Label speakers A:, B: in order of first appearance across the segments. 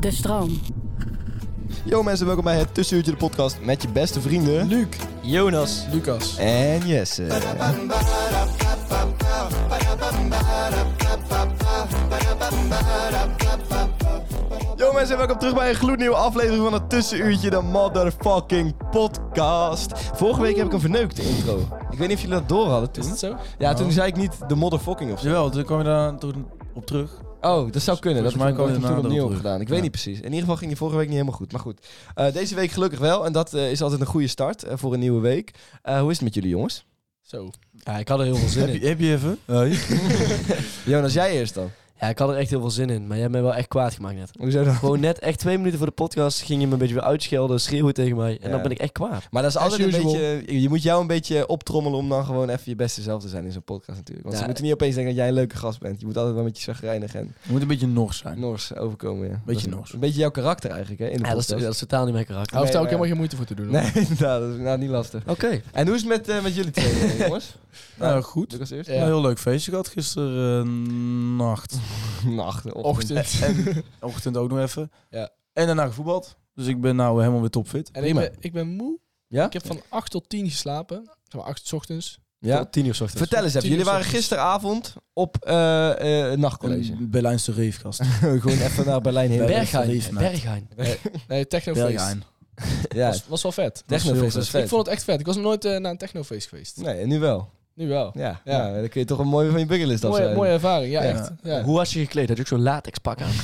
A: De stroom.
B: Yo mensen, welkom bij het Tussenuurtje de podcast met je beste vrienden... Luc, Jonas
C: Lucas.
B: en Jesse. Yo mensen, welkom terug bij een gloednieuwe aflevering van het Tussenuurtje de motherfucking podcast. Vorige week heb ik een verneukte intro. Ik weet niet of jullie dat door hadden toen.
C: Is dat zo?
B: Ja, toen zei ik niet de motherfucking of zo.
C: Jawel, toen kwam je daar toen op terug.
B: Oh, dat zou kunnen. Dat ik hem- dat
C: Volgens mij
B: ik
C: kwam
B: hem
C: je
B: toen
C: daarna
B: opnieuw heb
C: erop
B: gedaan. Ik
C: terug.
B: weet niet precies. In ieder geval ging die vorige week niet helemaal goed. Maar goed, Eh, deze week gelukkig wel. En dat eh, is altijd een goede start eh, voor een nieuwe week. Eh, hoe is het met jullie jongens?
C: Zo. Ja, ik had er heel veel zin
B: Heb
C: in. Heb je even?
B: Jonas, jij eerst dan.
D: Ja, ik had er echt heel veel zin in, maar jij hebt mij wel echt kwaad gemaakt net.
B: Hoezo dan?
D: Gewoon net echt twee minuten voor de podcast ging je me een beetje weer uitschelden, schreeuwen tegen mij. En
B: Ja.
D: dan ben ik echt kwaad.
B: Maar dat is
D: As
B: altijd een
D: usual.
B: beetje... eh, Je moet jou een beetje optrommelen om dan gewoon even je beste zelf te zijn in zo'n podcast natuurlijk. Want
D: Ja.
B: ze moeten niet opeens denken dat jij een leuke gast bent. Je moet altijd wel met je zagrijnig en
C: Je moet een beetje nors zijn.
B: Nors overkomen. Ja.
C: Beetje
B: Dat is
C: nors.
B: Een beetje jouw karakter eigenlijk hè, in de
D: Ja, dat, is,
B: podcast.
D: dat is totaal niet mijn karakter.
C: Hij hoeft daar ook
B: maar-
C: helemaal geen moeite voor te doen. hoor.
B: Nee, inderdaad. Dat is nou niet lastig.
D: Oké.
B: En hoe is het met, eh, met jullie twee eh, jongens?
C: Nou, goed.
B: Lucas eerst?
C: Ja. Een heel leuk feestje gehad gisteren nacht.
B: Nacht,
C: Ochtend. En ochtend ook nog even.
B: Ja.
C: En daarna gevoetbald. Dus ik ben nou helemaal weer topfit.
E: En ik
B: Prima.
E: ben, ik ben moe.
B: Ja?
E: Ik heb van 8 tot 10 geslapen. Zeg maar 8 's ochtends.
B: Ja?
D: Tien uur 's ochtends.
B: Vertel eens even,
E: eh, tien
B: jullie
E: uur
B: waren
E: ochtends.
B: gisteravond op eh, eh, een nachtcollege.
C: Een Berlijnse reefkast.
B: Gewoon even naar Berlijn heen.
C: Berg- Lief,
D: Berghain.
C: maat.
D: Berghain.
E: Nee, technofeest.
C: Berlijn.
B: Ja,
E: Was, was wel vet.
B: technofeest
C: heel
B: was
E: Ik
B: vet.
E: vond het echt vet. Ik was nog nooit eh, naar een technofeest geweest.
B: Nee, en nu wel.
E: Nu wel.
B: Ja, dus ja.
E: Ja.
B: dan kun je toch een mooie van je bucketlist
E: Mooie,
B: afzetten.
E: mooie ervaring. Ja,
B: eh, Ja.
E: echt. Ja.
D: Hoe was je gekleed? Had je ook zo'n latex pak aan?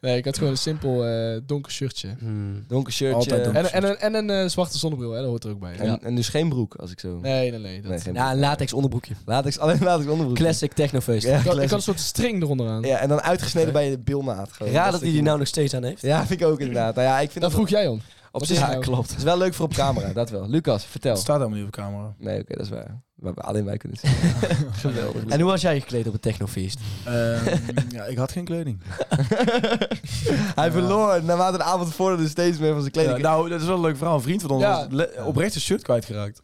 E: Nee, ik had gewoon een simpel eh, donker shirtje.
D: Hmm.
B: Donker shirtje.
C: Altijd donker.
E: En, en, een- en een eh, zwarte zonnebril, hè, dat hoort er ook bij.
B: En, en dus geen broek, als ik zo...
E: Nee, nee, nee. Dat...
B: Nee, geen broek.
D: Ja, een latex onderbroekje.
B: Latex, alleen latex onderbroek.
D: Classic technofeest.
B: Ja,
E: ik, had, ik
B: classic.
E: had een soort string eronder aan.
B: Ja, en dan uitgesneden bij de bilnaad. gewoon.
D: Raar dat
B: is
D: hij die nou nog steeds aan heeft.
B: Ja, vind ik ook inderdaad. Nou ja, ik vind
E: Dat vroeg jij om.
B: op
E: dat
B: zich...
E: is
B: Ja,
E: nou-
B: klopt. Het is wel leuk voor op camera, dat wel. Lucas, vertel.
C: Het staat helemaal niet op camera.
B: Nee, oké, dat is waar. Maar alleen wij kunnen het zien. Geweldig.
D: En hoe was jij gekleed op het technofeest?
C: Ehm, ja, ik had geen kleding.
B: Hij verloor naarmate de avond vorderde dus steeds meer van zijn kleding.
C: Ja, nou, dat is wel een leuk verhaal. Een vriend van ons
E: Ja.
C: was le- oprecht zijn shirt kwijtgeraakt.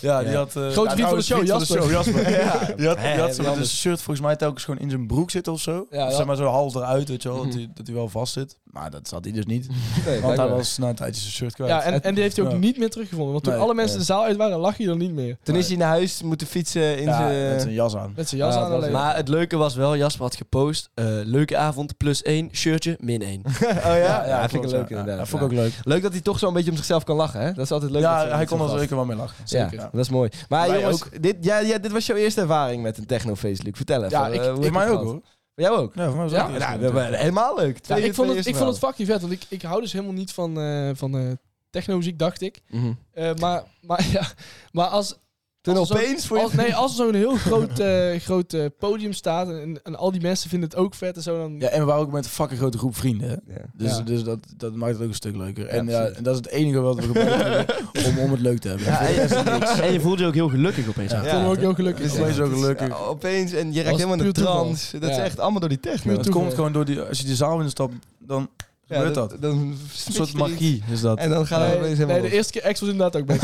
C: Ja, die had... eh,
E: vriend van de
C: trouwens,
E: show,
C: show, Jasper.
B: Ja.
C: Die had, die
D: Hè,
C: had
D: hè,
C: zeg maar, dus shirt volgens mij telkens gewoon in zijn broek zitten of zo.
E: Ja,
C: Of
E: ja.
C: zeg maar zo half eruit, weet je wel, dat
B: Mhm.
C: hij, dat hij wel vast zit. Maar dat zat hij dus niet.
B: Nee,
C: Want hij
B: blijkbaar.
C: was na een tijdje zijn shirt kwijt.
E: Ja, en, en die heeft hij ook
C: Ja.
E: niet meer teruggevonden. Want toen
C: Nee,
E: alle mensen
B: nee.
E: de zaal uit waren, lag hij er niet meer.
B: Toen is hij naar huis moeten fietsen in
C: Ja, met
B: zijn... eh,
C: zijn jas aan.
E: Met zijn jas
B: Ja,
E: aan
B: dat
E: alleen.
D: Maar het leuke was wel, Jasper had gepost, eh, leuke avond, plus één, shirtje, min één.
B: oh ja? Ja,
C: klopt,
B: vind ik
C: ja.
B: leuk inderdaad.
C: Ja, dat vond
B: Ja.
C: ik ook leuk.
B: Leuk dat hij toch zo'n beetje om zichzelf kan lachen, hè? Dat is altijd leuk. dat
C: ja,
B: ze- dat
C: hij
B: ze
C: kon er
B: vast-
C: zeker wel mee lachen.
B: Ja,
C: Zeker.
B: dat is mooi. Maar
C: Wij
B: jongens, dit, ja, ja, dit was jouw eerste ervaring met een technofeest, Luc. Vertel even.
E: Ja,
B: eh,
E: ik-
B: hoe heb je
C: Voor mij
B: het
C: ook
B: gehad?
C: hoor.
B: Voor jou ook?
C: Ja, voor mij was
E: Ja,
C: ook de eerste
B: Nou,
C: keer.
B: we- we- helemaal leuk.
E: Ja,
B: Twee-
E: ik vond
B: twee
E: het,
B: eerste
E: ik vond het
B: verhalen.
E: vakje vet, want ik, ik hou dus helemaal niet van, eh van eh techno-muziek, dacht ik.
B: Mhm.
E: Eh, maar, maar, ja, maar als,
B: Toen
E: als er zo'n-
B: opeens voor je...
E: als, nee, als er zo'n heel groot, eh, groot eh, podium staat en, en, en al die mensen vinden het ook vet en zo, dan...
C: Ja, en we waren ook met een fucking grote groep vrienden. hè.
B: Ja.
C: Dus,
E: Ja.
C: dus dat, dat maakt het ook een stuk leuker. en, ja,
B: precies.
C: en dat is het enige wat we gebruikt hebben om, om het leuk te hebben.
B: Ja, en-
D: En je voelde je ook heel gelukkig opeens.
C: Ja.
E: ik vond me ook heel gelukkig.
C: Dus
E: Ja.
C: opeens zo
B: het is-
C: gelukkig.
B: ja, opeens, en je raakt
E: Was
B: helemaal in de
E: puur toeval.
B: trance. Dat is
E: Ja.
B: echt allemaal door die techno.
C: Het komt gewoon door die... Als je die zaal instapt, dan
B: Ja,
C: gebeurt
B: dan-
C: dat.
B: Dan
C: Een
B: switch je
C: soort
B: die-
C: magie is dat.
B: En dan gaan we
E: Nee,
B: opeens
E: nee,
B: helemaal
E: de
B: los.
E: eerste keer X was inderdaad ook best.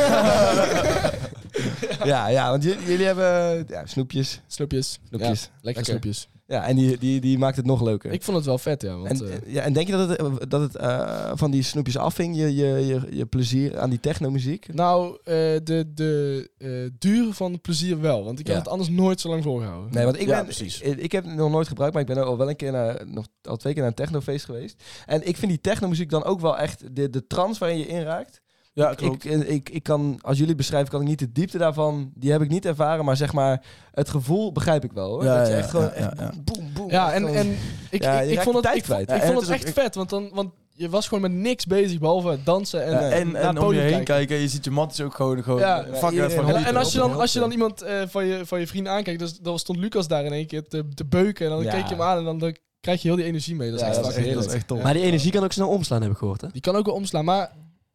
B: ja, ja, want j- jullie hebben ja, snoepjes.
E: snoepjes.
B: Snoepjes.
E: Ja, lekker
B: Lekker.
E: snoepjes.
B: Ja, en die, die, die maakt het nog leuker.
E: Ik vond het wel vet, ja. Want,
B: en,
E: eh,
B: eh, ja, en denk je dat het, eh, dat het eh, van die snoepjes afving, je, je, je, je plezier aan die technomuziek?
E: nou, eh, de, de eh, duur van het plezier wel. Want ik heb
B: Ja.
E: het anders nooit zo lang volgehouden.
B: Nee, want ik
C: Ja,
B: ben, eh,
C: precies.
B: Ik, ik heb het nog nooit gebruikt, maar ik ben al wel een keer naar, nog al twee keer naar een technofeest geweest. En ik vind die technomuziek dan ook wel echt de, de trance waarin je inraakt.
C: Ja,
B: Ik, eh,
C: klopt.
B: ik, ik kan, als jullie het beschrijven, kan ik niet de diepte daarvan, die heb ik niet ervaren, maar zeg maar, het gevoel begrijp ik wel. Hoor.
C: Ja,
B: dat je
C: ja,
B: echt gewoon,
C: ja,
B: echt
C: ja, ja.
B: boem, boem, boem,
E: Ja,
B: echt
E: en,
B: gewoon-
E: en ik,
B: Ja, je
E: ik, ik
B: raakt
E: vond
B: de
E: het,
B: tijd
E: ik, vond-
B: kwijt.
E: ik
B: Ja, en
E: vond het
B: het is
E: echt vet, want, dan, want je was gewoon met niks bezig behalve dansen en,
C: Ja,
E: eh,
C: en
E: naar het
C: en om je
E: podium
C: heen kijken, je ziet je matjes ook gewoon, gewoon
E: Ja,
C: eh,
E: ja,
C: fucking
B: iedereen
C: van
E: En,
C: genieten.
E: en als, je dan,
C: Op-
E: als je dan iemand eh, van, je, van je vriend aankijkt, dus, dan stond Lucas daar in één keer te, te beuken. En dan
B: Ja.
E: keek je hem aan en dan, dan krijg je heel die energie mee. Dat is
B: Ja,
E: echt
B: dat is
E: fucking
B: echt-
C: dat
E: heerlijk.
C: is echt top.
D: Maar die energie kan ook snel omslaan, heb ik gehoord. Hè?
E: Die kan ook wel omslaan, maar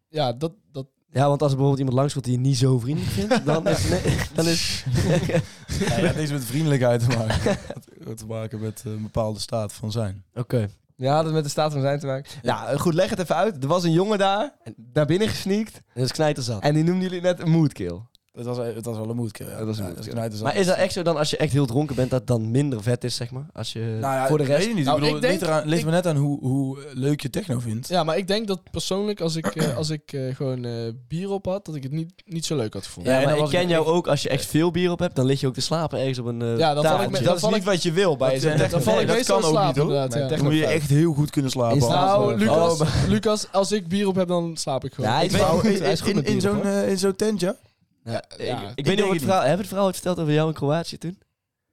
E: ja, dat, dat,
D: Ja, want als er bijvoorbeeld iemand langs komt die je niet zo vriendelijk vindt, dan is, nee, dan is
C: Ja, ja, deze met vriendelijkheid te maken. Wat te maken met eh, een bepaalde staat van zijn.
D: Oké.
B: Ja, dat met de staat van zijn te maken. Ja, eh, goed, leg het even uit. Er was een jongen daar, naar binnen gesneakt.
D: Dat is knijterzat.
B: En die noemden jullie net een moodkill.
C: Het was, het was wel een moedke.
B: Dat was een moedke.
C: nou,
D: Maar is dat echt zo dan als je echt heel dronken bent, dat dan minder vet is, zeg maar? Als je...
C: Nou ja,
D: voor de rest...
C: Weet ik niet.
E: Nou,
C: ik bedoel,
E: ik denk-
C: het ligt, eraan, ligt
E: ik-
C: me net aan hoe, hoe eh, leuk je techno vindt.
E: ja, maar ik denk dat persoonlijk, als ik, eh, als ik eh, gewoon eh, bier op had, dat ik het niet, niet zo leuk had gevonden.
D: Ja,
C: Ja,
D: maar
C: dan
D: ik
C: was
D: ken
C: ik-
D: jou ook, als je echt veel bier op hebt, dan lig je ook te slapen ergens op een eh,
E: Ja, dan val ik
D: tafeltje.
E: met-
B: dat
E: dan
B: is
E: val
B: niet
E: ik-
B: wat je wil bij
C: Dat,
B: zo'n
C: eh,
E: Dan val
C: Nee,
E: ik
C: dat
E: meestal
C: kan
E: in
C: ook
E: slaap,
C: niet, hoor.
E: inderdaad.
B: Nee,
E: ja.
B: techno-
C: Dan moet je echt heel goed kunnen slapen.
B: Is dat-
C: Anders
E: Nou,
C: wel.
E: Lucas,
C: Oh,
E: Lucas, als ik bier op heb, dan slaap ik gewoon.
D: Ja, hij
C: ik
D: is
C: weet-
D: wel-
C: in-
D: hij is goed
C: in-
D: met
C: in
D: bier,
C: zo'n,
D: hoor.
C: eh, in zo'n tent, ja?
D: Ja, ik-
E: ja,
D: ik, weet
E: ik
C: denk
D: niet of
C: het
D: het verhaal... Hebben we het verhaal ooit verteld over jou in Kroatië toen?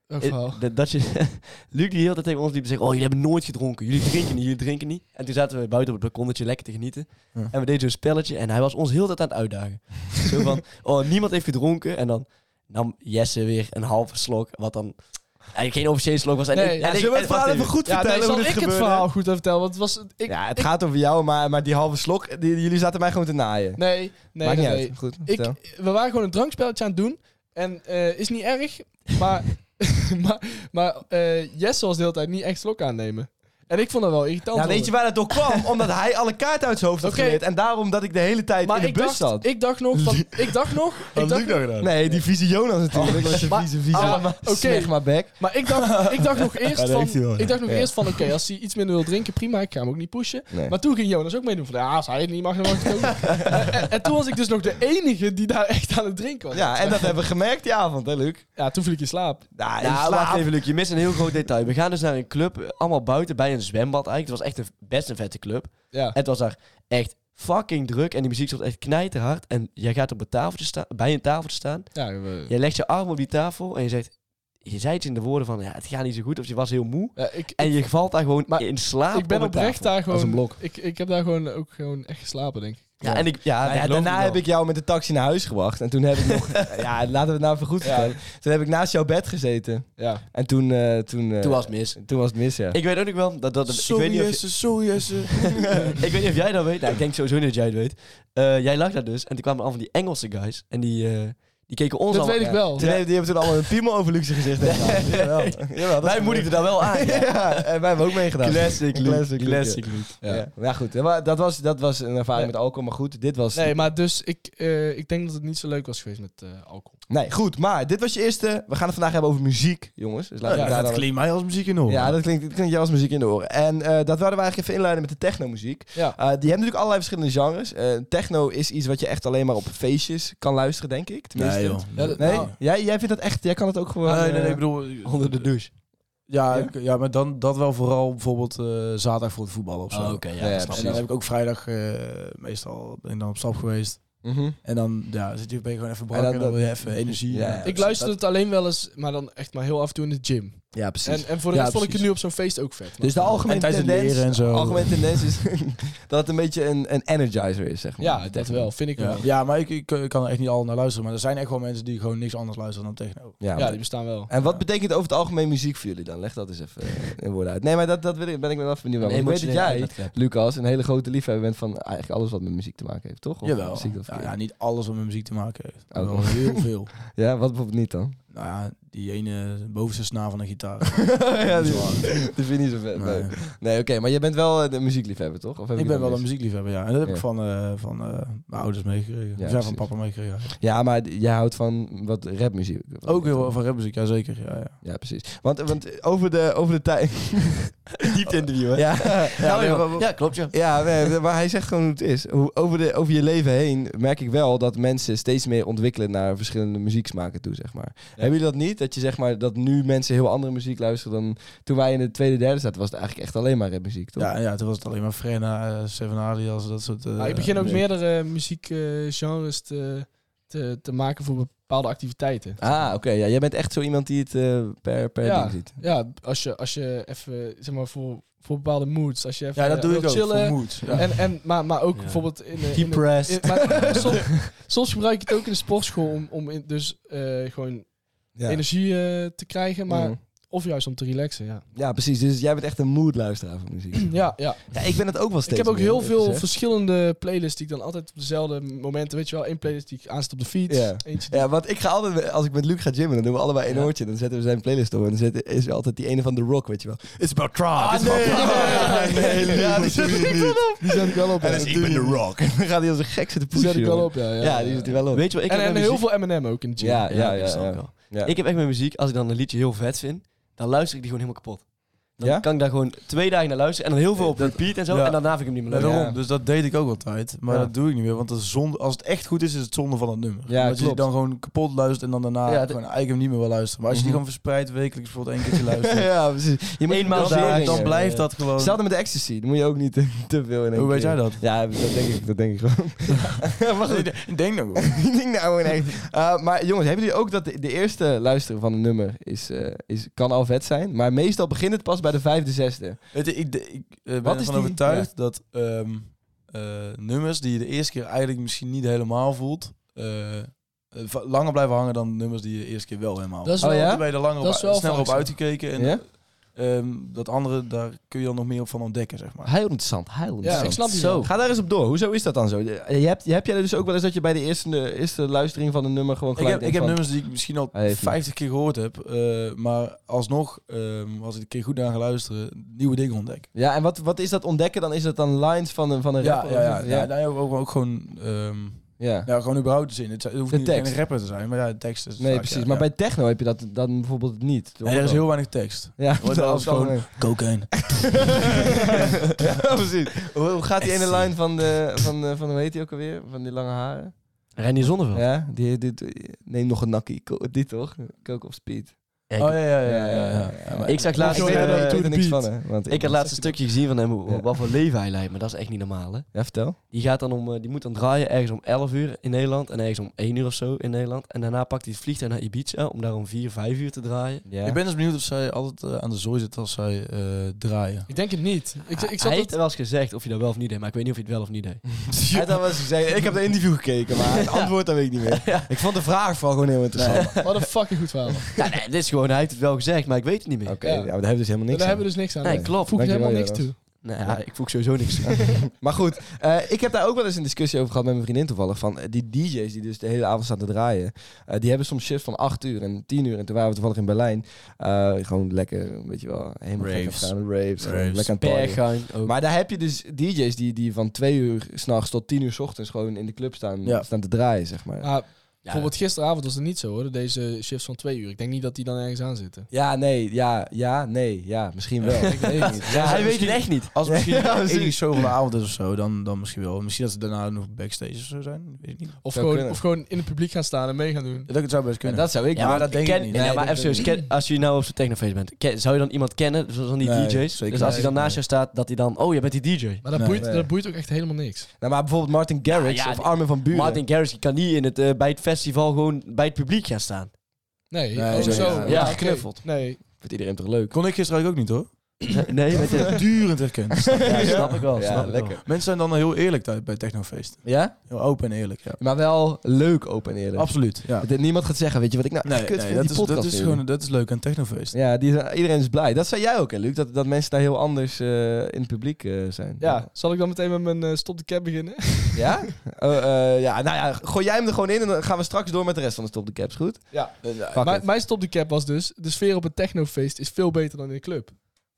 E: Een
D: Eh,
E: verhaal.
D: dat- Dat je... Luc die heel de tijd tegen ons liep te zeggen... Oh, jullie hebben nooit gedronken. Jullie drinken niet, jullie drinken niet. En toen zaten we buiten op het balkonnetje lekker te genieten.
C: Ja.
D: En we deden zo'n spelletje. En hij was ons heel de tijd aan het uitdagen. Zo van... Oh, niemand heeft gedronken. En dan nam Jesse weer een halve slok. Wat dan... Eigenlijk geen officiële slok was. En
E: Nee,
D: ik-
E: ja,
D: en ik-
E: zullen
B: we het
D: en-
B: verhaal
D: wacht
B: even goed
E: Ja,
B: vertellen
E: nee,
B: hoe
E: zal
B: dit
E: ik het
B: gebeurde?
E: verhaal goed even vertellen? Want het was, ik,
B: Ja, het gaat over jou, maar, maar die halve slok, die, jullie zaten mij gewoon te naaien.
E: nee, nee,
B: Maakt
E: nee,
B: niet
E: nee.
B: uit. Goed,
E: Ik,
B: vertel.
E: we waren gewoon een drankspelletje aan het doen. En eh, is niet erg, maar, maar, maar eh, Jesse was de hele tijd niet echt slok aannemen. En ik vond dat wel irritant.
B: Nou, weet je waar
E: worden.
B: dat door kwam? Omdat hij alle kaarten uit zijn hoofd had
E: Oké.
B: geleerd. En daarom dat ik de hele tijd
E: maar
B: in de
E: ik
B: bus
E: dacht,
B: zat.
E: ik dacht nog van, ik dacht nog, ik dacht,
B: nou?
C: gedaan?
B: nee, die vieze Jonas natuurlijk. Dat was je
E: Maar-
B: vieze, vieze.
E: Ah,
B: maar-
E: oké.
B: Smeg maar bek.
E: maar ik dacht, ik dacht nog eerst
C: dat
E: van,
C: heeft hij wel, ja.
E: ik dacht nog
B: Ja.
E: eerst van, oké, als hij iets minder wil drinken, prima, ik ga hem ook niet pushen.
B: Nee.
E: Maar toen ging Jonas ook meedoen van, ja, als hij het niet mag, dan mag ik het ook niet. en, en- en toen was ik dus nog de enige die daar echt aan het drinken was.
B: Ja, en dat hebben we gemerkt die avond, hè Luc?
E: Ja, toen viel ik in slaap.
B: Nou, in
D: Nou,
B: slaap.
D: wacht even, Luc. Je mist een heel groot detail. We gaan dus naar een club, eh, allemaal buiten, bij een zwembad eigenlijk. Het was echt een, best een vette club.
E: Ja.
D: Het was daar echt fucking druk en die muziek stond echt knijterhard. En jij gaat op een tafeltje sta- bij een tafeltje staan.
E: ja we-
D: Jij legt je arm op die tafel en je zegt... Je zei iets in de woorden van, ja, het gaat niet zo goed of je was heel moe.
E: ja, ik,
D: En je valt daar gewoon
E: Maar
D: in slaap
E: ik
D: op
E: ben
D: een
E: oprecht
D: tafel.
E: daar gewoon.
D: Als een blok.
E: Ik, ik heb daar gewoon ook gewoon echt geslapen, denk ik.
D: Ja, en ik, ja,
B: Nou ja,
D: ik geloof
B: daarna
D: het
B: heb
D: wel.
B: ik jou met de taxi naar huis gebracht. En toen heb ik nog... ja, laten we het nou even goed vertellen. Toen heb ik naast jouw bed gezeten.
E: Ja.
B: En toen... eh, toen, eh,
D: Toen was het mis.
B: toen was het mis, ja.
D: Ik weet ook nog wel, dat, dat, ik, weet
C: Sorry,
D: niet of je-
C: Jesse, sorry, Jesse.
D: ik weet niet of jij dat weet. Nou, ik denk sowieso niet dat jij het weet. Eh, jij lag daar dus en toen kwamen al van die Engelse guys. En die, eh, die keken ons
E: Dat
D: allemaal-
E: weet ik
D: ja.
E: wel.
B: Toen hebben- die hebben toen allemaal een piemel over Luxe gezicht. gedaan. Jawel. Jawel, dat
D: Wij
B: is
D: moedigden daar wel aan. ja.
B: ja, en wij hebben ook meegedaan.
D: Classic, Luc.
B: Classic, Luc, ja.
D: Classic, Luc.
B: Ja. Ja. goed, maar dat was, dat was een ervaring
E: Nee.
B: met alcohol, maar goed, dit was...
E: Nee, maar dus ik, eh, ik denk dat het niet zo leuk was geweest met eh, alcohol.
B: Nee, goed, maar dit was je eerste... We gaan het vandaag hebben over muziek, jongens. Dus laten
C: Ja,
B: we daar
C: dat
B: dan-
C: klinkt mij als muziek in de oren.
B: Ja, dat klinkt, dat klinkt jou als muziek in de oren. En eh, dat wilden we eigenlijk even inleiden met de technomuziek.
E: Ja.
B: Eh, die hebben natuurlijk allerlei verschillende genres. Eh, techno is iets wat je echt alleen maar op feestjes kan luisteren, denk ik. Tenminste.
C: Nee, joh. Ah,
E: Ja, dat-
B: Nee?
E: nou,
B: Jij, jij vindt dat echt... Jij kan het ook gewoon...
C: nee, nee,
B: eh,
C: nee, ik bedoel...
D: Onder de douche.
C: Ja,
B: Ja?
C: ik- ja maar dan, dat wel vooral bijvoorbeeld eh, zaterdag voor het voetballen of zo.
B: ja, ja,
C: En dan heb ik ook vrijdag eh, meestal ben ik dan op stap geweest.
B: Mhm.
C: En dan ja, zit je, ben je gewoon even
B: En
C: brak
B: dan-
C: en dan wil je even energie.
B: Ja,
C: Ja,
B: ja.
E: ik luisterde het alleen wel eens, maar dan echt maar heel af en toe in de gym.
B: Ja, precies.
E: En, en voor de
C: Ja,
E: rest vond ik
C: precies.
E: het nu op zo'n feest ook vet. Maar-
B: Dus de algemene
C: En tijdens het
B: tendens,
C: leren en zo.
B: algemene tendens is dat het een beetje een, een energizer is, zeg maar.
E: ja, dat wel, vind ik
C: Ja,
E: wel. Ja,
C: ja, maar ik, ik, eh, kan er echt niet al naar luisteren. Maar er zijn echt wel mensen die gewoon niks anders luisteren dan techno.
B: Ja,
E: die bestaan wel.
C: Eh,
B: En wat betekent over het algemeen muziek voor jullie dan? Leg dat eens even eh, in woorden uit. Nee, maar dat, dat wil ik- ben ik wel even benieuwd naar. Want Ik weet dat jij, Lucas, een hele grote liefhebber bent van eigenlijk alles wat met muziek te maken heeft, toch? Of
C: Jawel. Nou
B: zie ik dat
C: Ja,
B: verkeerd?
C: ja, niet alles wat met muziek te maken heeft.
B: Oh.
C: Wel heel veel.
B: Ja, wat bijvoorbeeld niet dan?
C: Nou ja, die ene bovenste snaar van een gitaar.
B: ja,
C: Dat is
B: die,
C: waar.
B: die vind je niet zo vet. Nee,
C: Nee.
B: nee. oké, maar jij bent wel eh, de muziekliefhebber, toch? Of heb
C: Ik
B: het
C: ben wel
B: mis?
C: een muziekliefhebber, ja. En dat heb
B: Ja.
C: ik van, eh, van eh, mijn ouders meegekregen. Ja, zijn
B: precies.
C: van papa meegekregen. eigenlijk.
B: Ja, maar d- jij houdt van wat rapmuziek.
C: Ook heel veel van rapmuziek, ja zeker. Ja, ja.
B: Ja, precies. Want, want over de, over de tijd... Diepte interview, hè? Ja,
D: Ja,
B: nee,
D: nee,
B: maar-
D: maar- ja, klopt, ja.
B: Ja, nee, maar hij zegt gewoon hoe het is. Hoe, over, de, over je leven heen merk ik wel dat mensen steeds meer ontwikkelen naar verschillende muzieksmaken toe, zeg maar. Hebben jullie dat niet? Dat je zeg maar dat nu mensen heel andere muziek luisteren dan toen wij in de tweede, derde zaten, was het eigenlijk echt alleen maar rapmuziek, toch?
C: Ja, ja, toen was het alleen maar Frenna, eh, Seven Alias, dat soort... eh,
E: Maar ik begin Nou, ook
C: muziek.
E: meerdere muziekgenres te, te, te maken voor bepaalde activiteiten.
B: Ah, oké. ja, jij bent echt zo iemand die het eh, per, per
E: Ja.
B: ding ziet.
E: Ja, als je, als je even, zeg maar, voor, voor bepaalde moods. Als je even
C: Ja, dat
E: eh,
C: doe ik
E: wilt
C: ook,
E: chillen.
C: voor moed. Ja.
E: En, en, maar, maar ook
C: Ja.
E: bijvoorbeeld in, de- in de-
D: Depressed.
E: in- maar soms, soms gebruik ik het ook in de sportschool om, om in, dus eh, gewoon
C: Ja. Mhm.
E: energie eh, te krijgen, maar
B: Mm.
E: of juist om te relaxen. Ja,
B: Ja, precies. Dus jij bent echt een moodluisteraar van muziek.
E: ja, ja.
B: Ja, ik ben het ook wel
E: Ik
B: steeds
E: heb ook
B: meer,
E: heel
B: eerlijk
E: veel
B: gezegd.
E: verschillende playlists die ik dan altijd op dezelfde momenten, weet je wel, één playlist die ik aanzet op de fiets,
B: Ja.
E: eentje die
B: Ja, want ik ga altijd, als ik met Luc ga gymmen, dan doen we allebei een
E: Ja.
B: oortje. Dan zetten we zijn playlist op en dan zit- is er altijd die ene van The Rock, weet je wel. It's about tribe, it's
C: nee.
B: about tribe.
C: Nee, nee,
B: Ah, ja,
C: dat
B: die
C: doe
B: zet
C: je
B: ik
C: niet.
B: wel op.
E: Die zet ik wel op.
B: En
E: ja.
B: dan is, ik ben The Rock. En dan gaat hij als een gek zitten
E: Die
B: pushen.
E: zet ik wel
B: jongen.
E: op, ja. ja,
B: Ja, die zit hij wel op.
D: Weet je wat ik
E: En,
D: heb
E: en
D: met
E: heel
D: muziek?
E: veel M&M ook in de gym.
B: Ja, ja, ja.
D: dat snap
B: ja,
D: ik wel.
B: ja.
D: Ik heb echt met muziek, als ik dan een liedje heel vet vind, dan luister ik die gewoon helemaal kapot. Dan
B: Ja?
D: kan ik daar gewoon twee dagen naar luisteren en dan heel veel op repeat en zo.
C: ja.
D: En daarna vind ik hem niet meer
C: Ja,
D: leuk.
C: daarom. Dus dat deed ik ook altijd. Maar
D: Ja.
C: dat doe ik niet meer. Want dat is zonde, als het echt goed is, is het zonde van het nummer.
B: Ja,
C: dat je die
B: klopt.
C: dan gewoon kapot luistert en dan daarna
D: Ja, dat-
C: gewoon eigenlijk hem niet meer wil luisteren. Maar als je die gewoon verspreid wekelijks bijvoorbeeld één keertje luistert,
B: ja, precies. Je moet dan-
D: Eenmaal daar,
C: dan,
D: ja,
C: dan
D: ja,
C: blijft
D: ja.
C: dat gewoon...
B: Hetzelfde met de ecstasy. Dan moet je ook niet te, te veel in één
C: Hoe weet
B: keer.
C: jij dat?
B: Ja, dat denk ik, dat denk ik gewoon. maar goed.
C: Ik denk nog wel.
B: Ik denk nou gewoon echt. Eh, maar jongens, hebben jullie ook dat de, de eerste luisteren van een nummer is, eh, is, kan al vet zijn? Maar meestal begint het pas bij de vijfde, zesde.
C: Weet je, ik, de- ik eh, ben
B: Wat is
C: ervan
B: die-
C: overtuigd dat ehm, eh, nummers die je de eerste keer eigenlijk misschien niet helemaal voelt, eh, eh, va- langer blijven hangen dan nummers die je de eerste keer wel helemaal
E: Dat is
B: Oh,
E: wel,
B: ja?
C: Dan ben je er langer
E: Dat
C: op,
E: is wel
C: sneller
E: vaak
C: op
E: zo.
C: uitgekeken. En
B: Ja?
C: ehm, dat andere, daar kun je dan nog meer op van ontdekken, zeg maar.
B: Heel interessant, heel interessant.
E: ik snap die
B: Zo.
E: wel.
B: Ga daar eens op door. Hoezo is dat dan zo? Je je hebt, je hebt jij dus ook wel eens dat je bij de eerste, de eerste luistering van een nummer gewoon
C: Ik
B: gelijk
C: heb, ik heb
B: denkt van,
C: nummers die ik misschien al
B: Hij heeft hem.
C: 50 keer gehoord heb, eh, maar alsnog, ehm, als ik een keer goed naar ga luisteren, nieuwe dingen ontdek.
B: Ja, en wat, wat is dat ontdekken dan? Is dat dan lines van een, van een
C: Ja,
B: rapper?
C: ja, ja, ja,
B: ja. ja.
C: nou, ook, ook gewoon, ehm,
B: ja.
C: ja, gewoon überhaupt de zin. Het hoeft
B: De
C: niet
B: tekst.
C: geen rapper te zijn, maar ja, de tekst is
B: Nee,
C: vaak,
B: precies.
C: ja,
B: maar
C: ja.
B: bij techno heb je dat dan bijvoorbeeld niet.
C: Nee, er is heel weinig tekst.
B: Ja,
C: Wordt wel eens gewoon-
B: algemeen.
C: Cocaine.
B: ja, precies. Hoe, hoe gaat die ene line van, de, van, eh, van hoe heet die ook alweer? Van die lange haren?
D: Reinier Zonneveld.
B: Ja, die, die, die- neem nog een nakkie. Ko- Dit toch? Coke op speed.
D: Ja,
C: Oh
D: ik-
C: ja, ja, ja. ja, ja, Maar
D: Ik zag laatst...
B: ik weet er-
D: eh,
B: ik weet er niks van, hè. Want
D: ik had laatst een stukje gezien van hem, hoe-
B: Ja.
D: wat voor leven hij leidt. Maar dat is echt niet normaal, hè.
B: Ja, vertel.
D: Die, gaat dan om, eh, die moet dan draaien ergens om 11 uur in Nederland en ergens om 1 uur of zo in Nederland. En daarna pakt hij het vliegtuig naar Ibiza om daar om 4, 5 uur te draaien.
B: Ja.
C: Ik ben dus benieuwd of zij altijd eh, aan de zooi zit als zij eh, draaien.
E: Ik denk het niet. Ik, ik
D: hij
E: zat
D: heeft
E: het,
D: wel eens gezegd of hij dat wel of niet deed, maar ik weet niet of hij het wel of niet deed.
B: Hij had al wel eens gezegd, ik heb de interview gekeken, maar het antwoord dat weet ik niet meer. Ik vond de vraag vooral gewoon heel interessant. Oké,
E: wat een fucking goed verhaal.
D: ja, nee, dit is gewoon, hij heeft het wel gezegd, maar ik weet het niet meer.
B: ja. maar daar hebben we dus helemaal niks
E: Daar
B: aan.
E: hebben we dus niks aan.
D: Nee,
E: Ik
D: klopt.
E: voeg er
B: Dankjewel,
E: helemaal niks
B: Jonas.
E: toe.
D: Nee, ja, ik voel sowieso niks.
B: Maar goed, eh, ik heb daar ook wel eens een discussie over gehad met mijn vriendin toevallig. Van eh, die DJ's die dus de hele avond staan te draaien. eh, die hebben soms shifts van 8 uur en 10 uur. En toen waren we toevallig in Berlijn. eh, gewoon lekker, weet je wel, helemaal gek
C: Raves.
B: afgaan, Raves. gewoon
C: Raves.
B: Lekker aan het partyen.
D: Berghain ook.
B: Maar daar heb je dus DJ's die, die van 2 uur s'nachts tot 10 uur s ochtends gewoon in de club staan,
C: Ja.
B: staan te draaien, zeg maar.
E: Maar Ah, bijvoorbeeld gisteravond was het niet zo hoor. Deze shifts van twee uur. Ik denk niet dat die dan ergens aan zitten.
B: Ja, nee, ja, ja, nee, ja, misschien wel. ik weet het niet. Ja,
D: hij
B: misschien-
D: weet het echt niet.
C: Als het misschien
B: Ja,
C: de
B: precies.
C: enige show van de avond is of zo, dan, dan misschien wel. Misschien dat ze daarna nog backstage of zo zijn, weet ik niet.
E: Of
B: Zou
E: gewoon,
B: kunnen.
E: of gewoon in het publiek gaan staan en mee gaan doen.
C: Dat het zou best
B: Ja,
C: kunnen.
B: dat zou ik
D: Ja, maar dat denk ik
B: Nee,
D: niet. maar
B: dat
D: even
B: denk
D: serieus,
B: ik
D: ken- als je nou op zo'n technofeest bent, ken- zou je dan iemand kennen, dus dan die
C: Nee,
D: DJ's?
C: zeker
D: Dus als
C: niet.
D: hij dan naast jou staat, dat hij dan, oh, je bent die DJ.
E: Maar dat,
C: Nee.
E: boeit,
B: Nee.
E: dat boeit ook echt helemaal niks.
B: Nou, maar bijvoorbeeld Martin Garrix
D: Ja, ja,
B: of
D: die-
B: Armin van Buren.
D: Martin Garrix kan niet in het, eh, bij het festival gewoon bij het publiek gaan staan.
E: Nee,
C: Nee,
E: oh,
C: zo,
E: zo.
C: ja.
E: oké.
D: geknuffeld.
E: Nee.
B: Vindt iedereen toch leuk?
C: Kon ik gisteren eigenlijk ook niet hoor.
D: Nee, weet je...
C: Durend herkend.
D: Ja, snap ik wel.
B: Ja,
D: snap ik wel.
B: lekker.
C: Mensen zijn dan heel eerlijk tijd bij technofeesten.
B: Ja?
C: Heel open en eerlijk. Ja.
B: Maar wel leuk, open en eerlijk.
C: Absoluut. Ja.
B: Dat niemand gaat zeggen, weet je wat ik nou echt
C: Nee,
B: kut
C: nee
B: vind,
C: dat,
B: die
C: is,
B: podcast
C: dat, is
B: nu.
C: gewoon, dat is leuk aan technofeest.
B: Ja, die, zijn- iedereen is blij. Dat zei jij ook, hè, Luc? Dat, dat mensen daar heel anders eh, in het publiek eh, zijn.
E: Ja, zal ik dan meteen met mijn eh, stop de cap beginnen?
B: Ja? Oh, eh, ja, nou ja, gooi jij hem er gewoon in en dan gaan we straks door met de rest van de Stop de Caps, goed?
E: Ja.
B: Fuck
E: Mijn-
B: it.
E: mijn stop de cap was dus, de sfeer op een technofeest is veel beter dan in een club.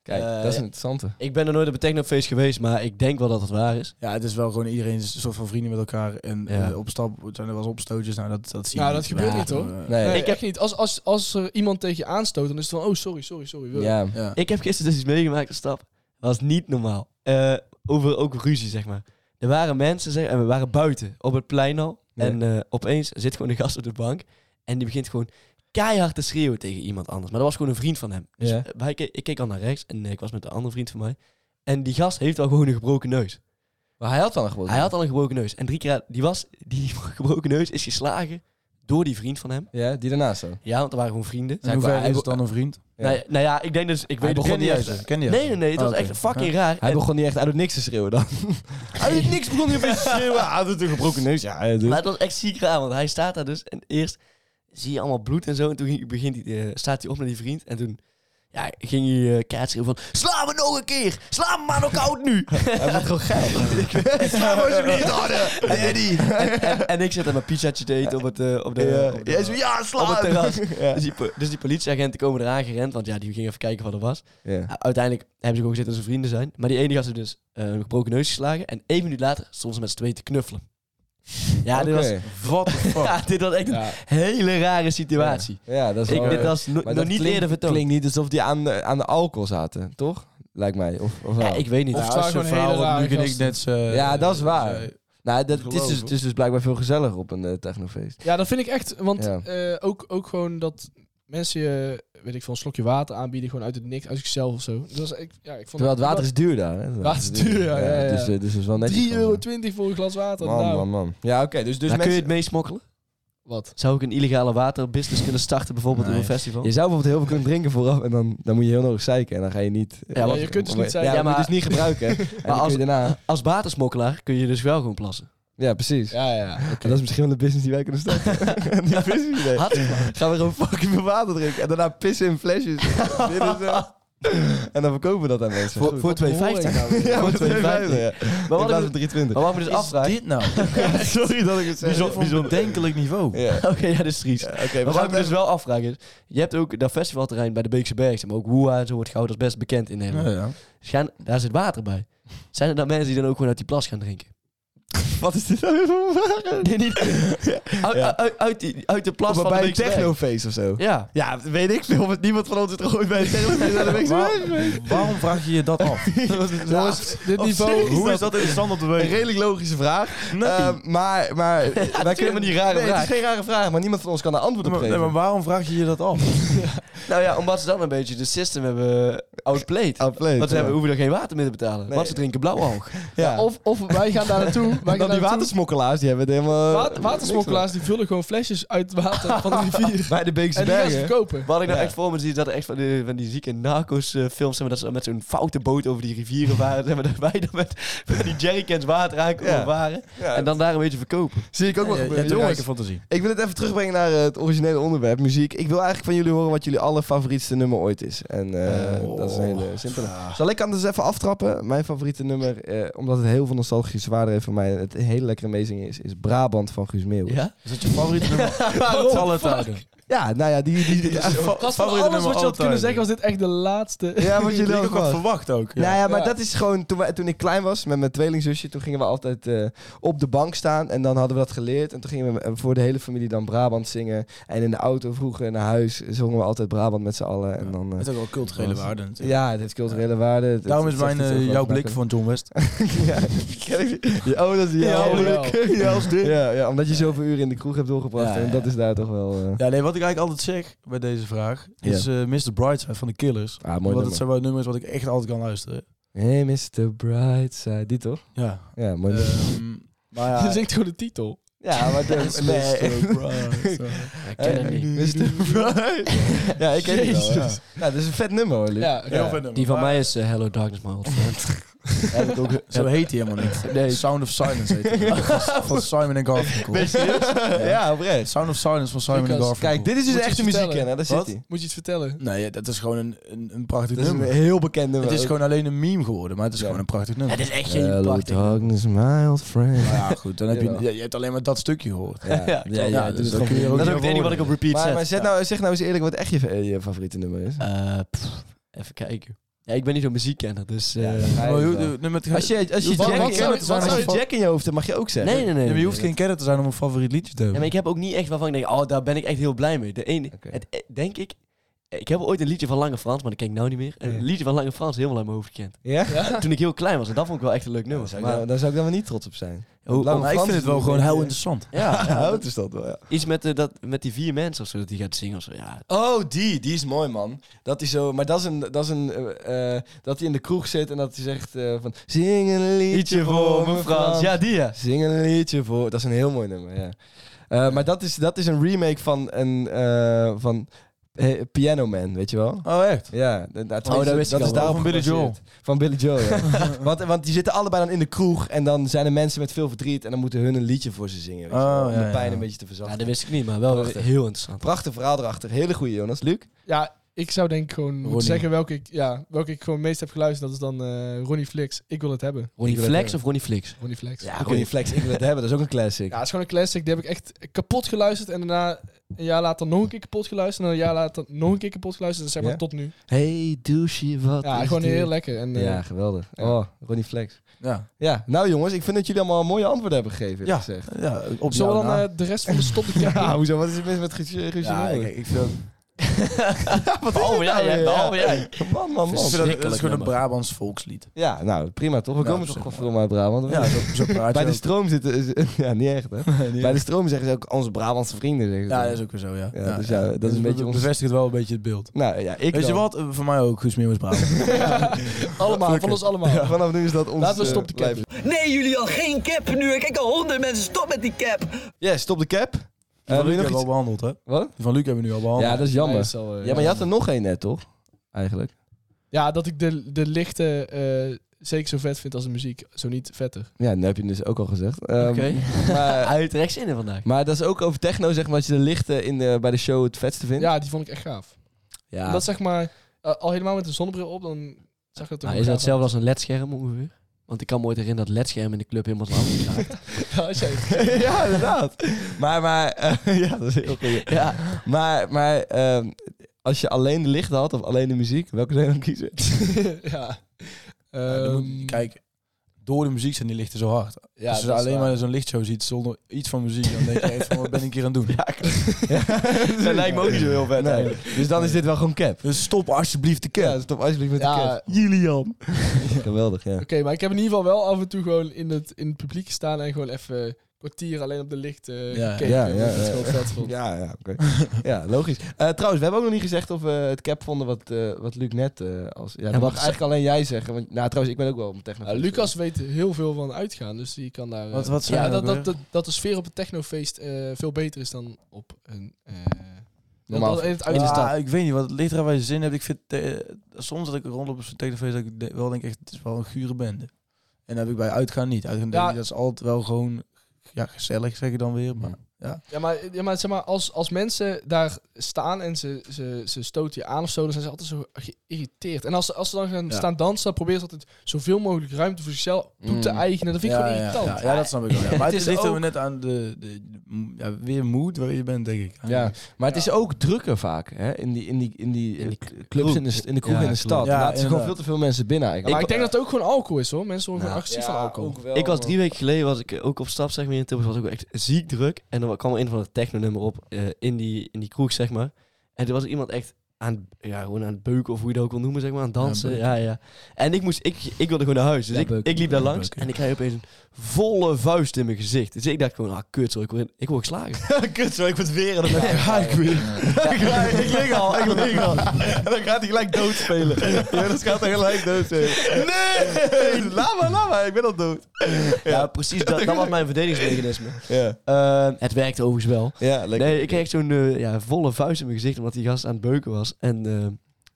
B: Kijk,
D: Eh,
B: dat is
D: ja.
B: een interessante.
D: Ik ben er nooit op een technofeest geweest, maar ik denk wel dat het waar is.
C: Ja, het is wel gewoon iedereen is een soort van vrienden met elkaar. En
D: Ja.
C: eh, op stap zijn er wel eens opstootjes. Nou, dat, dat zie je
E: Nou,
C: niet.
E: dat gebeurt
C: Ja,
E: niet, hoor.
C: eh,
B: Nee.
E: Nee,
D: Ik heb-
E: ik heb niet. Als, als, als er iemand tegen je aanstoot, dan is het van, oh, sorry, sorry, sorry. Wil.
B: ja.
C: Ja.
D: Ik heb gisteren dus iets meegemaakt, een stap. was niet normaal. Eh, over ook ruzie, zeg maar. Er waren mensen, zeg, en we waren buiten op het plein al.
B: Ja.
D: En eh, opeens zit gewoon een gast op de bank. En die begint gewoon keihard te schreeuwen tegen iemand anders. Maar dat was gewoon een vriend van hem. Dus
B: Ja.
D: eh, wij, ke- ik keek al naar rechts en eh, ik was met een andere vriend van mij. En die gast heeft al gewoon een gebroken neus.
B: Maar hij had dan gewoon.
D: Hij had al een gebroken neus. En drie keer, die, was, die gebroken neus is geslagen door die vriend van hem.
B: Ja, die daarnaast zo.
D: Ja, want er waren gewoon vrienden.
C: In hoeverre is het dan een vriend?
B: Ja.
D: Nou, nou ja, ik denk dus... Ik weet
C: Hij
D: het
C: begon
D: niet
C: niet
D: echt.
C: uit. Ken die
D: Nee, nee, nee. Het
C: Oh,
D: was
C: oké.
D: echt fucking
C: Ja.
D: raar.
B: Hij
D: En-
B: begon niet echt uit het niks te schreeuwen dan. uit het niks begon hij opeens te schreeuwen. Ah, Hij had een gebroken neus. Ja, hij doet-
D: Maar het was echt ziek raar, want hij staat daar dus. En eerst zie je allemaal bloed en zo. En toen ging- begint hij, eh, staat hij op met die vriend. En toen ja, ging hij eh keihard schreeuwen van... Sla me nog een keer! Sla me maar nog koud nu!
B: hij wordt gewoon geil.
D: Sla me alsjeblieft harder! En, en, en ik zit aan mijn pizzaatje te eten op het, eh, op de,
B: Ja.
D: op de-
B: Jij zo, ja, sla
D: op het
B: hem.
D: terras.
B: Ja.
D: Dus, die, po- dus die politieagenten komen eraan gerend. Want ja, die gingen even kijken wat er was.
B: Ja.
D: Uiteindelijk hebben ze gewoon gezeten dat ze vrienden zijn. Maar die ene gast heeft dus eh, een gebroken neus geslagen. En één minuut later stonden ze met z'n tweeën te knuffelen. Ja, dit was...
B: Oké.
C: What the fuck?
D: Ja, dit was echt een hele rare situatie.
B: Ja, dat is
D: Ik,
B: wel-
D: dit was no-
B: Maar
D: nog
B: dat
D: niet
B: klinkt-
D: eerder vertoond.
B: klinkt niet alsof die aan, de- aan de alcohol zaten, toch? Lijkt mij. Of, of
D: ja,
B: wel?
D: ik weet niet.
C: Of
E: Ja,
C: het
E: het
C: zijn
E: zijn
C: verhaal
E: hele
C: wat
E: rare
C: Luc en ik
E: gasten.
C: net... eh,
B: Ja, dat is waar.
C: zei.
B: nou, dat, het, is dus,
C: geloof.
B: het is dus blijkbaar veel gezelliger op een eh, technofeest.
E: Ja, dat vind ik echt. Want
B: Ja.
E: eh, ook, ook gewoon dat mensen je, weet ik veel, een slokje water aanbieden. Gewoon uit het niks, uit zichzelf of zo. Dat was, ik, ja, ik vond
B: Terwijl het water is duur daar. Hè? Het
E: Water is duur, ja, ja, ja.
B: Dus, eh, dus het is wel netjes.
E: 3,20 euro voor een glas water.
B: Man,
E: nou,
B: man, man. Ja, oké. dus dus
D: maar kun je
B: mensen-
D: het meesmokkelen?
E: Wat?
D: Zou ik een illegale waterbusiness kunnen starten bijvoorbeeld op
C: Nee.
D: een festival?
B: je zou bijvoorbeeld heel veel kunnen drinken vooraf en dan, dan moet je heel nodig zeiken en dan ga je niet...
D: Ja,
E: Ja,
D: want-
E: je kunt dus niet
B: ja,
E: zijn.
D: Ja,
B: maar,
D: maar-
B: dus niet gebruiken. en dan
D: als-
B: kun je daarna...
D: Als watersmokkelaar kun je dus wel gewoon plassen.
B: Ja, precies.
E: Ja, ja.
B: En dat is misschien wel een business die wij kunnen starten. die business idee.
D: Had ik maar.
B: Gaan we gewoon fucking veel water drinken en daarna pissen in flesjes. Dit is, eh, en dan verkopen we dat aan mensen.
D: voor,
B: Goed.
D: voor 2,50.
B: ja,
D: voor
B: voor 2,50.
D: 2,50.
B: Ja.
D: Maar
B: In
D: wat
B: plaats
D: ik,
B: van 3,20.
D: maar wat ik me dus afvraag...
C: Dit nou?
B: Sorry dat ik het zeg.
C: Bijzonder bedenkelijk niveau.
B: Ja.
D: Oké, ja, dit is triest.
B: Ja, Oké,
D: Maar
B: we
D: wat ik
B: gaan
D: me dus
B: dus...
D: wel afvraag is... Je hebt ook dat festivalterrein bij de Beekse Berg, maar ook Woeha en zo wordt goud als best bekend in Nederland.
C: Ja, ja.
D: Dus gaan, daar zit water bij. Zijn er dan mensen die dan ook gewoon uit die plas gaan drinken?
B: Wat is dit nou weer voor vraag?
D: Nee, niet. Uit, uit, uit, die- uit de plas
B: Maar
D: van
B: bij een
D: de Beekse Berg.
B: technofeest of zo.
D: Ja.
B: Ja, weet ik veel, want niemand van ons is er ooit bij een technofeest aan de Beekse
C: Waar-
B: Berg geweest.
C: Waarom vraag je je dat af?
E: Jongens, dit
B: Op
E: niveau.
B: zich
C: Hoe is dat interessant op de
B: Een
C: week?
B: redelijk logische vraag. Eh, maar, maar wij
D: helemaal niet rare
B: nee,
D: vraag.
B: Het is geen rare vraag, maar niemand van ons kan daar antwoord op
C: Maar,
B: geven.
C: nee, maar waarom vraag je je dat af?
D: Nou ja, omdat ze dan een beetje de system hebben outplayed.
B: Outplayed,
D: Want ze
B: ja.
D: hebben, hoeven er geen water meer te betalen.
B: Nee.
D: Want ze drinken blauwalg.
B: ja.
E: Of, of wij gaan daar naartoe. Wij
B: dan
E: gaan daar
B: die
E: naartoe.
B: watersmokkelaars, die hebben het helemaal...
E: Wa- watersmokkelaars die vullen gewoon flesjes uit het water van de rivier.
B: Bij de Beekse
E: En die gaan ze
B: Bergen.
E: verkopen.
D: Wat ik nou
B: Ja.
D: echt voor me zie, is dat er echt van, die, van die zieke narcos-films zijn... dat ze dan met zo'n foute boot over die rivieren waren. zeg maar, dat wij dan met, met die jerrycans water aankomen
B: Ja.
D: waren.
B: Ja,
D: En dan daar een beetje verkopen.
B: zie ik ook wel
C: Je
B: gebeuren.
C: hebt een
B: Jongens,
C: rijke fantasie.
B: ik wil het even terugbrengen naar eh, het originele onderwerp, muziek. Ik wil eigenlijk van jullie horen wat jullie allerfavorietste nummer ooit is. En eh,
E: Oh.
B: dat is een hele simpele. Zal ik anders even aftrappen? Mijn favoriete nummer, eh, omdat het heel veel nostalgische waarde heeft voor mij... en het een hele lekkere amazing is, is Brabant van Guus Meeuw.
D: Ja?
C: Is dat je favoriete nummer?
D: Waarom?
C: Alle tijden.
B: Ja, nou ja, die... die, die-
E: Gast, van
C: Favoriete
E: alles
C: nummer
E: wat je had kunnen
C: altijd.
E: zeggen was dit echt de laatste.
B: ja, wat
C: Die
B: jullie
C: ik
B: ook
C: ook had
B: was.
C: verwacht ook.
B: Nou ja, maar
E: Ja.
B: dat is gewoon... Toen, wij- toen ik klein was met mijn tweelingzusje... toen gingen we altijd eh, op de bank staan. En dan hadden we dat geleerd. En toen gingen we eh, voor de hele familie dan Brabant zingen. En in de auto vroeger naar huis zongen we altijd Brabant met z'n allen. En dan... eh,
C: Het is ook wel culturele
B: was-
C: waarde. natuurlijk.
B: ja, dit is culturele waarde. Het-
C: Daarom
B: het
C: is
B: zegt
C: mijn,
B: iets
C: eh,
B: over
C: jouw
B: ons
C: blik
B: maken.
C: van John West.
B: ja, ken ik die? Ja, oh, dat is jouw
E: Ja,
B: blik.
E: jawel.
B: Ja, ja, ja, omdat je zoveel uren in de kroeg hebt doorgebracht.
C: Ja,
B: En
C: ja.
B: dat is daar toch wel... eh,
C: Ja, nee, wat ik eigenlijk altijd zeg bij deze vraag is eh Mr. Brightside van de Killers.
B: Ah, mooi
C: Want
B: nummer.
C: dat zijn wel nummers wat ik echt altijd kan luisteren.
B: Hey, Mr. Brightside. Die toch? Eh.
C: Ja.
B: Ja, mooi nummer.
C: Ehm, maar
E: Je
C: ja,
B: Ah,
E: zingt gewoon de titel.
B: Ja, maar de, nee.
D: Ik
C: Eh,
D: ken het niet.
B: Mr. Bright. Ja, ik ken die wel. Ja. Nou, dit is een vet nummer hoor, Luc.
E: Ja,
C: Heel vet nummer.
D: Die van
C: Maar-
D: mij is eh, Hello Darkness, My Old Friend.
C: Heb ik ook- Zo heet hij helemaal niet.
D: Nee.
C: Sound of Silence heet hij. Van- Van Simon en Garfunkel.
B: Ja, oprecht.
C: Sound of Silence van Simon en
E: Lucas,
C: Garfunkel.
B: Kijk, dit is dus
E: Moet je
B: echt de
E: iets
B: muziek
E: vertellen?
B: kennen. Daar
C: Wat?
B: zit hij.
E: Moet je iets vertellen?
C: Nee, dat is gewoon een, een, een prachtig
B: Dat is
C: nummer.
B: een heel bekend nummer.
C: Het is
B: ook.
C: gewoon alleen een meme geworden, maar het is
B: Ja.
C: gewoon een prachtig nummer.
D: Het is echt geen
B: Hello
D: prachtig.
B: darkness, my old friend.
C: Nou ja, goed, dan heb je,
B: Jawel.
C: ja, je hebt alleen maar dat stukje gehoord.
B: Ja, ja, ja,
C: ja,
B: dus
C: dus
B: dat
C: dan kun je
B: gewoon-
C: ook
D: Dat is
B: dat
D: ook het enige wat ik op repeat
B: Maar,
D: zet.
B: maar zet nou, zeg nou eens eerlijk wat echt je, eh, je favoriete nummer is.
D: Eh, pff, even kijken. Ja, ik ben niet zo'n muziekkenner, dus... eh,
B: Ja,
D: nee,
B: ga je
C: Maar hoe-
B: wel.
C: de- nee, met-
B: als je, als je,
C: Wat-
B: Jack,
C: wat
B: in-
C: zou-
B: wat
C: wat
B: zou je
C: zou-
B: Jack in je hoofd hebt, mag je ook zeggen.
D: nee, nee.
C: Nee,
D: nee,
C: maar je hoeft
D: nee.
C: geen kenner te zijn om een favoriet liedje te
D: Ja,
C: hebben.
D: maar ik heb ook niet echt waarvan ik denk, oh, daar ben ik echt heel blij mee. De ene,
B: Oké.
D: het, eh, denk ik... eh, Ik heb ooit een liedje van Lange Frans, maar dat ken ik nou niet meer. Een
B: Ja.
D: liedje van Lange Frans helemaal uit mijn hoofd gekend.
B: Ja?
D: Toen ik heel klein was, en dat vond ik wel echt een leuk
B: Nou,
D: nummer.
B: zou ik
D: maar,
B: dan- daar zou ik dan wel niet trots op zijn.
D: hoe-
B: Lange
D: om-
C: Maar oh, ik vind het wel gewoon heel interessant.
D: ja,
B: Ja, het is dat wel, ja.
D: Iets met, eh, dat, met die vier mensen of zo, dat die gaat zingen of zo. Ja,
B: Oh, die. Die is mooi, man. Dat hij zo... Maar dat is een... Dat, is een, eh, eh, dat hij in de kroeg zit en dat hij zegt eh, van... Zing een liedje voor me, Frans.
D: Ja, die ja.
B: Zing een liedje voor... Dat is een heel mooi nummer, ja. Eh, maar dat is, dat is een remake van een... eh, van eh, Piano Man, weet je wel?
C: Oh, echt?
B: Ja, d- d-
D: dat wist ik al wel.
B: daarop
C: Van Billy
B: gebaseerd.
C: Joel.
B: Van Billy Joel, ja. want, want die zitten allebei dan in de kroeg en dan zijn er mensen met veel verdriet en dan moeten hun een liedje voor ze zingen. Weet je wel,
C: Oh,
B: om
C: ja,
B: de pijn
C: ja.
B: een beetje te
D: Ja,
B: verzachten.
D: dat wist ik niet, maar wel
B: Prachtig.
D: heel interessant.
B: Prachtig verhaal erachter. Hele goede Jonas. Luc?
E: Ja, ik zou denk ik gewoon moeten
C: Ronnie.
E: zeggen welke ik, ja, welke ik gewoon het meest heb geluisterd. Dat is dan eh, Ronnie Flix. Ik wil het hebben.
D: Ronnie
B: Ik wil
D: Flex
B: het
D: of Ronnie Flix?
E: Ronnie Flex.
B: Ja, Ronnie Flex. Ik wil het hebben. Dat is ook een classic.
E: Ja, het is gewoon een classic. Die heb ik echt kapot geluisterd. En daarna een jaar later nog een keer kapot geluisterd. En een jaar later nog een keer kapot geluisterd. Dus zeg maar
B: Ja?
E: tot nu.
B: Hey, douche, wat
E: Ja,
B: is
E: gewoon
B: dit?
E: heel lekker. En, eh,
B: Ja, geweldig.
E: Ja.
B: Oh, Ronnie Flex.
C: Ja.
B: Ja, nou jongens, ik vind dat jullie allemaal een mooie antwoorden hebben gegeven.
C: Ja.
B: Ja. Gezegd.
C: ja op
E: Zullen we
C: jou
E: dan
C: na.
E: eh, de rest van de stop de kerk
B: nou. Ja,
E: in?
B: hoezo? Wat is er mis met Guusje
C: ja, ik, ik vind dat,
D: Behalve jij, hè, behalve jij.
B: Man, man,
C: ik
B: man.
C: vind dat, dat is gewoon een
D: nummer.
C: Brabants volkslied.
B: Ja, nou, prima toch? We
C: Ja,
B: komen
C: op
B: toch
C: zich
B: godverdomme uit Brabant.
C: Ja, zo, zo praat
B: Bij
C: je
B: de
C: ook.
B: stroom zitten... is- ja, niet echt, hè? Bij de stroom zeggen ze ook onze Brabantse vrienden. Zeggen ze
C: Ja,
B: dan.
C: dat is ook weer zo, ja.
B: Ja, dus ja, dat is een beetje ons-
C: bevestigt wel een beetje het beeld.
B: Nou ja, ik
C: Weet je
B: dan.
C: wat? Eh, Voor mij ook, Guus Meeuwis Brabant.
E: allemaal, van ons allemaal.
B: Vanaf nu is dat ons...
E: Laten we
B: eh,
E: stop de cap.
B: lijf.
F: Nee, jullie al geen cap nu. Ik kijk al honderd mensen. Stop met die cap.
B: Ja, stop de cap.
C: Die
B: Eh,
C: van
B: wil
C: Luc
B: je nog
C: hebben we al
B: iets...
C: behandeld, hè?
B: Wat?
C: Die van Luc hebben we nu al behandeld.
B: Ja, dat is jammer.
E: Nee, is al, eh,
B: Ja, maar je had er nog één net, toch? Eigenlijk.
E: Ja, dat ik de, de lichte eh, zeker zo vet vind als de muziek. Zo niet vetter.
B: Ja, dat heb je dus ook al gezegd. Ehm,
D: Oké.
B: maar,
D: Uit rechts in vandaag.
B: maar dat is ook over techno, zeg maar, als je de lichten in de, bij de show het vetste vindt.
E: Ja, die vond ik echt gaaf.
B: Ja.
E: Dat zeg maar, eh, al helemaal met een zonnebril op, dan
D: Nou,
E: zag het er wel
D: is dat
E: gaaf uit.
D: hetzelfde als een ledscherm ongeveer? Want ik kan me ooit herinneren dat ledscherm in de club helemaal zwart geraakt.
E: Ja, als jij-
B: ja, inderdaad. Maar, maar, eh, ja, dat is heel goed.
D: ja.
B: Maar, maar ehm, als je alleen de lichten had of alleen de muziek, welke zou je dan kiezen?
E: ja.
C: Ja, dan moet-
E: Ehm,
C: kijk, door de muziek zijn die lichten zo hard.
E: ja,
C: Als je
E: dat Dus is
C: alleen
E: waar.
C: maar zo'n lichtshow ziet zonder iets van muziek, dan denk je echt van, wat ben ik hier aan het doen?
B: dat lijkt me ook niet zo heel vet. Dus dan is dit wel gewoon cap.
C: Dus stop alsjeblieft de cap.
B: Ja, stop alsjeblieft met
E: Ja.
B: de cap. Julian. Geweldig, ja.
E: Oké, maar ik heb in ieder geval wel af en toe gewoon in het, in het publiek gestaan en gewoon even een kwartier alleen op de licht eh,
C: Ja,
E: gekeken.
B: ja,
E: omdat
B: ja,
E: ik het
B: ja.
E: gewoon vet vond.
B: Ja, ja, oké. ja, logisch. Eh, trouwens, we hebben ook nog niet gezegd of we het cap vonden wat, eh, wat Luc net eh, als... Ja, dat
D: wat
B: mag
D: ze-
B: eigenlijk alleen jij zeggen. Want, nou, trouwens, ik ben ook wel een techno.
E: Nou, Lucas weet heel veel van uitgaan, dus die kan daar... eh,
C: Wat- wat zei
E: ja,
C: hij
E: dat,
C: ook
E: dat,
C: weer?
E: dat, dat de sfeer op het technofeest eh, veel beter is dan op een... eh,
B: Normaal.
E: dat- dat in het
C: Ja,
E: uit is dat.
C: ik weet niet, wat het ligt eraan waar je zin hebt. Ik vind, eh, soms dat ik rondloop op zo'n telefoon, dat ik de- wel denk echt, het is wel een gure bende. En dat heb ik bij uitgaan niet. Uitgaan denk
E: Ja.
C: ik, dat is altijd wel gewoon, ja, gezellig zeg ik dan weer. Maar
E: Ja, maar, ja, maar zeg maar, als, als mensen daar staan en ze, ze, ze stoten je aan of zo, dan zijn ze altijd zo geïrriteerd. En als, ze- als ze dan gaan
C: Ja.
E: staan dansen, dan proberen ze altijd zoveel mogelijk ruimte voor zichzelf toe te
B: Mm.
E: eigenen. Dat vind ik
C: ja,
E: gewoon
C: ja,
E: irritant.
C: Ja, ja, dat snap ik wel. ja. Maar
B: Het
C: het,
B: is
C: ligt ook...
B: ook-
C: net aan de, de, de- m- ja, weer moed waar je bent, denk ik.
B: Ja, maar het
E: Ja.
B: is ook drukker vaak hè? in die, in die, in die,
D: In die
B: eh, clubs, in de, st- in de kroeg,
D: Ja,
B: in de
D: klopt.
B: stad.
C: Ja,
B: Ja, er zitten gewoon
C: inderdaad.
B: veel te veel mensen binnen eigenlijk.
E: Maar ik denk dat het ook gewoon alcohol is hoor. Mensen worden
D: Nou,
E: gewoon agressief van alcohol.
D: Ik was drie weken geleden was ik eh, ook op stap zeg maar, in Tilburg. was ook echt ziek druk. En dan kwam er een van de techno-nummer op eh, in, die, in die kroeg, zeg maar. En toen was er iemand echt aan, ja, gewoon aan het beuken, of hoe je dat ook wil noemen, zeg maar, aan het dansen.
C: Ja,
D: Ja, ja. En ik, moest, ik, ik wilde gewoon naar huis. Dus
B: Ja,
D: ik,
B: beuken.
D: ik liep daar
C: Ja,
D: langs
C: beuken.
D: en ik kreeg opeens een volle vuist in mijn gezicht. Dus ik dacht gewoon, ah, kut, zo, ik word, ik word geslagen.
B: Kut zo, ik word weer en dan ga ik weer. ik lig al, ik lig al. En dan gaat hij gelijk doodspelen. Ja, dat gaat hij gelijk doodspelen. Nee! Laat maar, laat maar.
C: ik ben al dood.
D: Ja, precies. Dat, dat was mijn verdedigingsmechanisme.
B: Ja,
D: Eh, het werkte overigens wel.
B: ja lekker.
D: Nee, ik kreeg zo'n eh, ja, volle vuist in mijn gezicht omdat die gast aan het beuken was. En eh,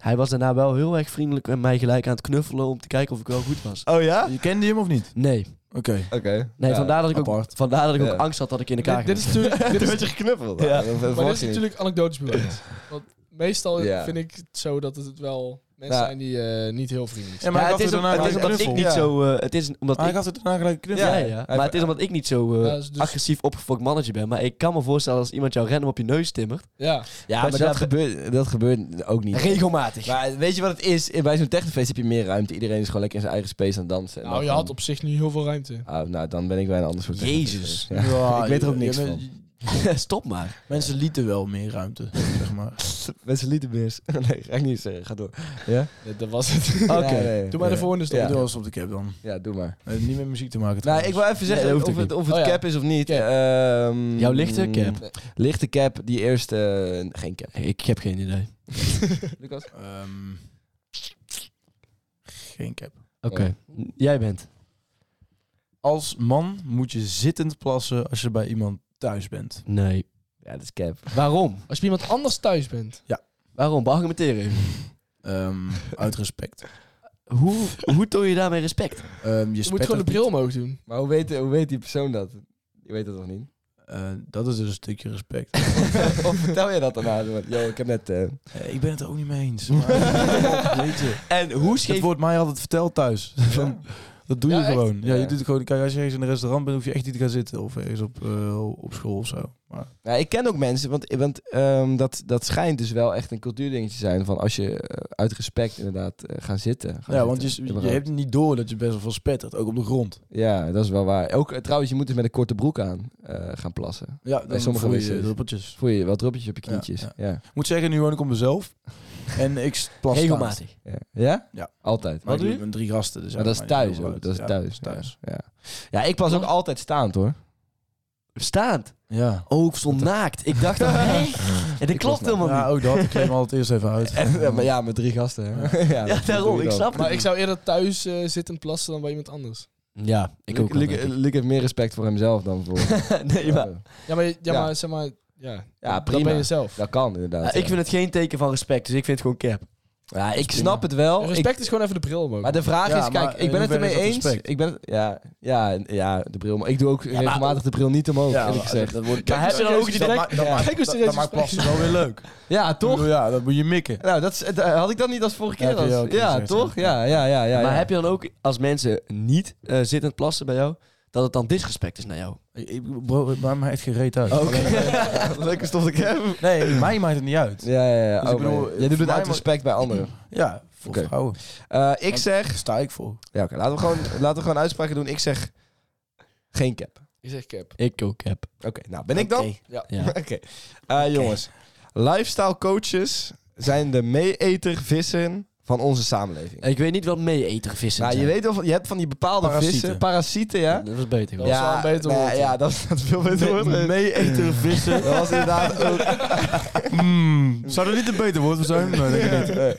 D: hij was daarna wel heel erg vriendelijk en mij gelijk aan het knuffelen om te kijken of ik wel goed was.
B: Oh ja?
C: Je kende hem of niet?
D: Nee,
C: Oké.
B: Oké.
D: nee
B: Ja,
D: vandaar dat ik, ook,
B: apart.
D: vandaar dat ik
B: Ja.
D: ook angst had dat ik in de kaart
E: Dit, dit is
D: ging.
E: natuurlijk, dit
B: Toen
E: is,
B: werd je geknuffeld.
D: Ja.
B: dat
E: maar dit
B: verwacht
E: is
B: je niet.
E: natuurlijk anekdotisch bewijs. Want meestal
B: Ja.
E: vind ik het zo dat het wel mensen
B: Ja.
E: zijn die eh, niet heel
C: Ja,
E: vriendelijk zijn.
C: maar
D: Ja,
C: hij
D: het
C: gaf er
D: is, om-
C: daarna
D: het
C: gelijk
D: is
C: een
D: omdat ik
C: knuffel.
D: niet zo... eh, het is omdat
C: Maar hij
D: ik...
C: gaf er daarna gelijk een knuffel.
D: Ja, ja,
B: Hij-
D: maar het is omdat ik niet zo eh,
E: Ja, dat is dus-
D: agressief opgefokt mannetje ben. Maar ik kan me voorstellen als iemand jou random op je neus timmert.
E: Ja,
B: Ja,
D: Dat
B: maar
D: je
B: dat,
D: daar
B: gebeurt, dat gebeurt ook niet.
D: Regelmatig.
B: Maar weet je wat het is? Bij zo'n technofeest heb je meer ruimte. Iedereen is gewoon lekker in zijn eigen space aan het dansen. En
E: nou
B: dan
E: je had
B: gewoon-
E: op zich niet heel veel ruimte.
B: Ah, nou, dan ben ik bij een ander soort technofeest.
D: Jezus.
B: Ja. Ik weet er ook niks van.
D: Stop maar.
C: Mensen lieten wel meer ruimte, zeg maar.
B: Mensen lieten beers. Nee, ga ik niet zeggen. Ga door.
E: Dat, dat was het.
B: Oké.
E: Doe maar de volgende stap.
B: Ja.
C: Doe alles op de cap dan.
B: Ja, doe maar.
C: Eh, niet met muziek te maken
B: Nou,
C: trouwens.
B: ik wil even zeggen
D: dat hoeft
B: of,
D: ook
B: het, of het
E: Oh, ja.
B: cap is of niet.
E: Cap.
B: Ehm,
D: Jouw lichte cap?
B: mm, Lichte cap, die eerste... eh, geen cap.
D: Ik heb geen idee.
B: Lucas?
C: Ehm, geen cap.
D: Oké, jij bent.
C: Als man moet je zittend plassen als je bij iemand thuis bent.
D: Nee.
B: Ja, dat is cap.
D: Waarom?
E: Als je bij iemand anders thuis bent.
D: Waarom? Beargumenteer even.
C: Ehm, uit respect.
D: Hoe, hoe toon je daarmee respect?
C: Ehm, je
E: Je moet gewoon de bril omhoog doen.
B: Maar hoe weet, hoe weet die persoon dat? Je weet dat toch niet?
C: dat is dus een stukje respect.
B: of vertel je dat daarna? Want, Yo, ik heb net... eh,
C: Eh, ik ben het er ook niet mee eens. maar- Weet je.
D: En hoe
C: Het wordt mij altijd verteld thuis. Van, Dat doe je
E: Ja, echt?
C: gewoon. Ja, je
B: Ja.
C: doet het gewoon. Kijk, als je ergens in een restaurant bent, hoef je echt niet te gaan zitten. Of ergens op, eh, op school of zo. Maar,
B: Nou, ik ken ook mensen, want, want ehm, dat, dat schijnt dus wel echt een cultuurdingetje te zijn. Van als je eh, uit respect inderdaad eh, gaan zitten. gaan
C: ja,
B: zitten.
C: want je, je
B: Überhaupt.
C: hebt niet door dat je best wel veel spettert. Ook op de grond.
B: Ja, dat is wel waar. Ook eh, trouwens, je moet dus met een korte broek aan eh, gaan plassen.
C: Ja,
B: Bij
C: dan
B: sommige
C: voel je
B: wc's.
C: druppeltjes.
B: Voel je wel druppeltjes op je knietjes. Ja.
C: Ja,
B: Ja?
C: Ik moet zeggen, nu woon ik op mezelf. En ik plas staand.
D: regelmatig.
B: ja.
C: Ja.
B: Altijd.
C: Maar ik
D: doe
C: doe
D: je?
C: het met drie gasten. Dus
B: Maar dat is
C: eigenlijk
B: thuis
C: maakt
B: ook.
C: het
B: Dat is
C: niet
B: thuis.
C: heel uit.
B: thuis. Ja. ja, ik plas ook altijd staand hoor.
D: Staand.
C: Ja. Ja.
D: Oh, ik stond naakt. Ik dacht, dat En dat klopt helemaal
C: Ja,
D: niet.
C: ook dat. Ik kleem altijd eerst even uit.
B: En, eh, maar ja, met drie gasten. Hè. Ja, dat-
D: Ja,
B: dat doe
D: daarom.
B: je
D: Ik
B: dan.
D: snap het
E: Maar ik
D: niet.
E: zou eerder thuis eh, zitten plassen dan bij iemand anders.
D: Ja, ik ook.
B: Luc- Luc Luc heeft meer respect voor hemzelf dan voor...
D: nee, maar...
E: Ja, maar, ja,
B: Ja.
E: maar zeg maar... Ja,
B: Ja,
E: dat ben
B: prima.
E: je zelf.
B: Dat kan inderdaad.
D: Ja,
B: ja.
D: ik vind het geen teken van respect, dus ik vind het gewoon cap. Dus
B: ja, ik snap het wel. Ik-
E: Respect is gewoon even de bril omhoog.
B: Maar de vraag
C: Ja,
B: is, kijk,
C: maar
B: ik ben
C: in
B: het ermee
C: hoeverre is
B: eens.
C: dat respect?
B: Ik ben het- ja, ja, ja, de bril. Maar ik doe ook regelmatig de bril niet omhoog, eerlijk gezegd.
C: Dat wordt,
D: Maar heb je dan ook die
C: dat
D: direct-
C: maakt- dat
B: Ja.
C: maakt-
E: Kijk hoe
C: dat-
E: serieus
C: dat
E: je
C: maakt
E: spreekt.
C: plassen wel weer leuk.
B: Ja, toch?
C: Ja, dat moet je mikken.
B: Nou, dat, is, dat had ik dat niet als vorige keer.
C: Heb je
B: als-
C: ook
B: ja,
C: gezegd,
B: toch?
C: ja.
B: Ja, ja, ja. ja,
D: maar
B: ja.
D: heb je dan ook, als mensen niet eh, zittend plassen bij jou, dat het dan disrespect is naar jou?
C: Ik- ik- Bro, het maakt mij echt geen reet uit.
B: Leuke stond ik heb.
C: Nee, mij maakt het niet uit. Ja,
B: Ja, ja, ja.
C: Dus ik
B: oh,
C: bedoel,
B: nee. Jij
C: voor
B: doet het
C: mij
B: uit
C: mag-
B: respect bij anderen.
C: voor
B: Oké.
C: vrouwen.
B: Eh, ik
C: Want-
B: zeg...
C: Daar sta ik voor.
B: Ja, oké. laten, we gewoon- laten we gewoon uitspraken doen. Ik zeg geen cap.
E: Ik zeg cap.
D: Ik ook cap.
B: Oké, nou ben ik dan?
D: Oké.
E: Ja.
D: Ja.
B: Oké. Eh, Jongens, lifestyle coaches zijn de meeetervissen van onze samenleving.
D: Ik weet niet wat mee-eter vissen
B: Nou, je
D: zijn.
B: weet wel, van- je hebt van die bepaalde
C: Parasieten.
B: vissen, parasieten, ja.
D: Dat was beter.
E: Dat was wel een beter
B: nee,
E: woord, ja.
B: Ja, dat is dat is veel beter woord.
C: Mee-eten vissen.
B: Dat was inderdaad ook...
C: Hmm. zou dat niet een beter woord voor zijn? Nee, denk ik niet.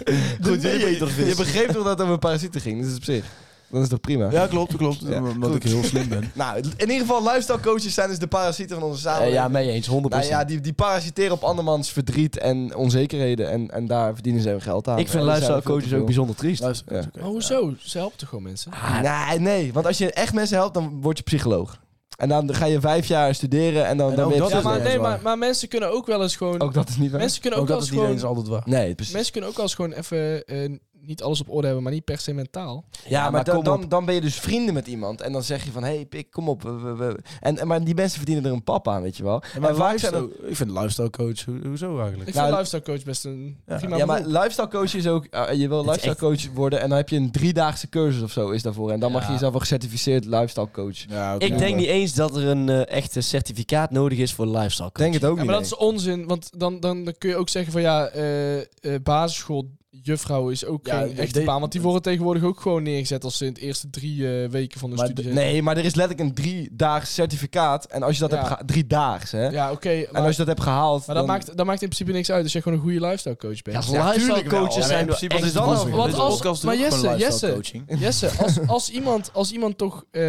B: Goed, je, je begreep toch dat het over parasieten ging, dus op zich. Dat is toch prima?
C: Ja, klopt, klopt. Omdat ik heel slim ben.
B: Nou, in ieder geval, lifestyle coaches zijn dus de parasieten van onze
D: Eh,
B: samenleving.
D: ja, mee eens, 100%.
B: Nou ja, die, die parasiteren op andermans verdriet en onzekerheden. En, en daar verdienen ze hun geld aan.
D: ik vind
B: En daar zijn
D: luisteraar
B: we veel
D: coaches
B: te
D: ook
B: veel.
D: bijzonder triest.
C: Luister.
B: Ja.
C: is oké.
E: Maar hoezo? Ze helpen toch gewoon mensen?
B: Ah, Nee, nee, want als je echt mensen helpt, dan word je psycholoog. En dan ga je vijf jaar studeren en dan,
C: En
B: dan
C: ook
B: ben je
C: dat
E: Ja,
C: is
B: psycholoog.
E: maar, nee,
C: waar.
E: maar, maar mensen kunnen ook wel eens gewoon...
B: Ook dat is niet waar.
E: mensen kunnen ook,
C: Ook
E: wel
C: dat
E: eens
C: is niet eens
E: gewoon...
C: altijd waar.
B: Nee, precies.
E: Mensen kunnen ook wel eens gewoon even eh, niet alles op orde hebben, maar niet per se mentaal.
B: Ja, maar,
D: maar
B: dan,
D: kom
B: dan, dan ben je dus vrienden met iemand. En dan zeg je van, hé hey, pik, kom op. we- we- we- En, en- maar die mensen verdienen er een pap aan, weet je wel.
C: Ja,
B: en
C: maar
B: vaak zijn
C: lifestyle- Ik vind lifestyle coach, ho- hoezo eigenlijk?
E: Ik
B: Nou,
E: vind lifestyle coach best een
C: Ja.
E: prima
B: dat- ja, maar
E: beroep.
B: lifestyle coach is ook... eh, je wil
D: is
B: lifestyle coach worden en dan heb je een driedaagse cursus of zo is daarvoor. En dan mag je
D: Ja.
B: jezelf wel gecertificeerd lifestyle coach.
C: Ja, oké.
D: Ik denk niet eens dat er een eh, echt een certificaat nodig is voor lifestyle
B: Ik denk
D: coach.
B: het ook
E: Ja,
B: niet.
E: maar dat
B: nee.
E: is onzin, want dan, dan, dan kun je ook zeggen van ja, eh, eh, basisschool juffrouw is ook
C: Ja,
E: geen
C: de-
E: echte
C: de-
E: baan. Want die worden tegenwoordig ook gewoon neergezet als ze in de eerste drie eh, weken van de
B: Maar
E: studie
B: d-
E: zijn.
B: nee, maar er is letterlijk een drie daags certificaat. En als je dat
E: Ja.
B: hebt geha- drie daags, hè?
E: Ja, oké.
B: En
E: maar
B: als je dat hebt gehaald.
E: maar dat,
B: dan-
E: maakt, dat maakt in principe niks uit als je gewoon een goede lifestyle coach bent.
D: Ja, lifestyle
C: tuurlijk wel.
D: coaches
C: Ja, maar
D: zijn
C: in
D: wel
C: principe, wat
D: echt
C: is dan
D: lastig.
C: nog?
E: Want
C: Dit
E: als-
C: podcast is
E: maar
C: ook gewoon
E: Jesse,
C: lifestyle
E: Jesse.
C: coaching.
E: Jesse, als, als, iemand, als iemand toch eh,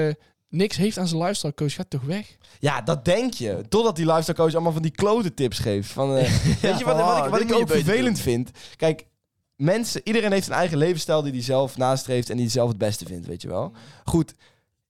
E: niks heeft aan zijn lifestyle coach, gaat toch weg?
B: Ja, dat denk je. Totdat die lifestyle coach allemaal van die klote tips geeft. Van, eh, weet je wat, wat ik,
C: dit
B: wat ik
C: moet je
B: ook
C: beter
B: vervelend
C: doen.
B: vind? Kijk, mensen, iedereen heeft een eigen levensstijl die hij zelf nastreeft en die hij zelf het beste vindt, weet je wel. Goed,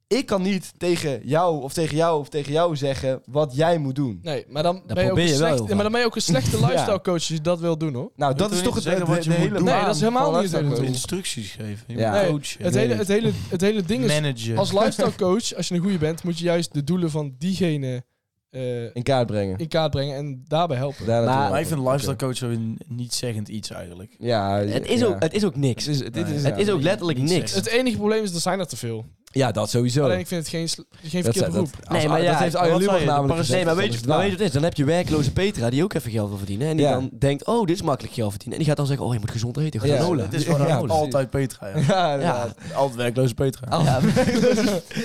B: ik kan niet tegen jou of tegen jou of tegen jou zeggen wat jij moet doen.
E: Nee, maar dan, ben, je ook
D: probeer
E: een
D: je wel
E: slechte,
D: heel
E: maar dan ben je ook een slechte
B: Ja.
E: lifestyle coach als je dat wil doen hoor.
B: Nou, dat
C: wil
B: is
C: niet
B: toch het,
C: zeggen
B: het-
C: wat je
B: de
C: moet
B: hele
C: doen.
E: Nee,
B: baan
E: dat is helemaal
B: van
E: niet het
B: lifestyle
E: hele
B: coach.
C: Instructies geven. Je
B: Ja.
C: moet
E: Nee,
C: coachen.
E: het, hele, het, hele, het hele ding is,
C: managen.
E: als lifestyle coach, als je een goede bent, moet je juist de doelen van diegene eh,
B: In kaart brengen.
E: in kaart brengen en daarbij helpen.
B: Daar naartoe.
D: Maar
C: maar ik vind lifestyle coach zo een niet zeggend iets eigenlijk.
B: Ja,
D: Het is,
B: ja.
D: ook, het is ook niks.
B: Het is, het is-
D: het is ook letterlijk
C: Niet
D: niks.
C: zeggen.
E: Het enige probleem is, er zijn er te veel.
B: Ja, dat sowieso.
E: Alleen ik vind het geen, sl- geen
B: dat,
E: verkeerd
B: dat,
E: beroep.
B: nee, maar ja, dat heeft Arjen
C: wat zei
B: Lubach
C: je?
B: namelijk
C: De
B: gezegd,
D: Nee, maar
B: dat
D: weet,
B: is
D: je, maar
B: waar.
D: weet je wat het is? Dan heb je werkloze Petra die ook even geld wil verdienen. En die
B: Ja.
D: dan denkt, oh, dit is makkelijk geld verdienen. En die gaat dan zeggen, oh, je moet gezond eten,
B: Ja.
D: granola.
C: Het is gewoon
B: Ja, precies.
C: altijd Petra. Ja.
B: Ja, inderdaad.
C: Altijd werkloze Petra.
D: Ja,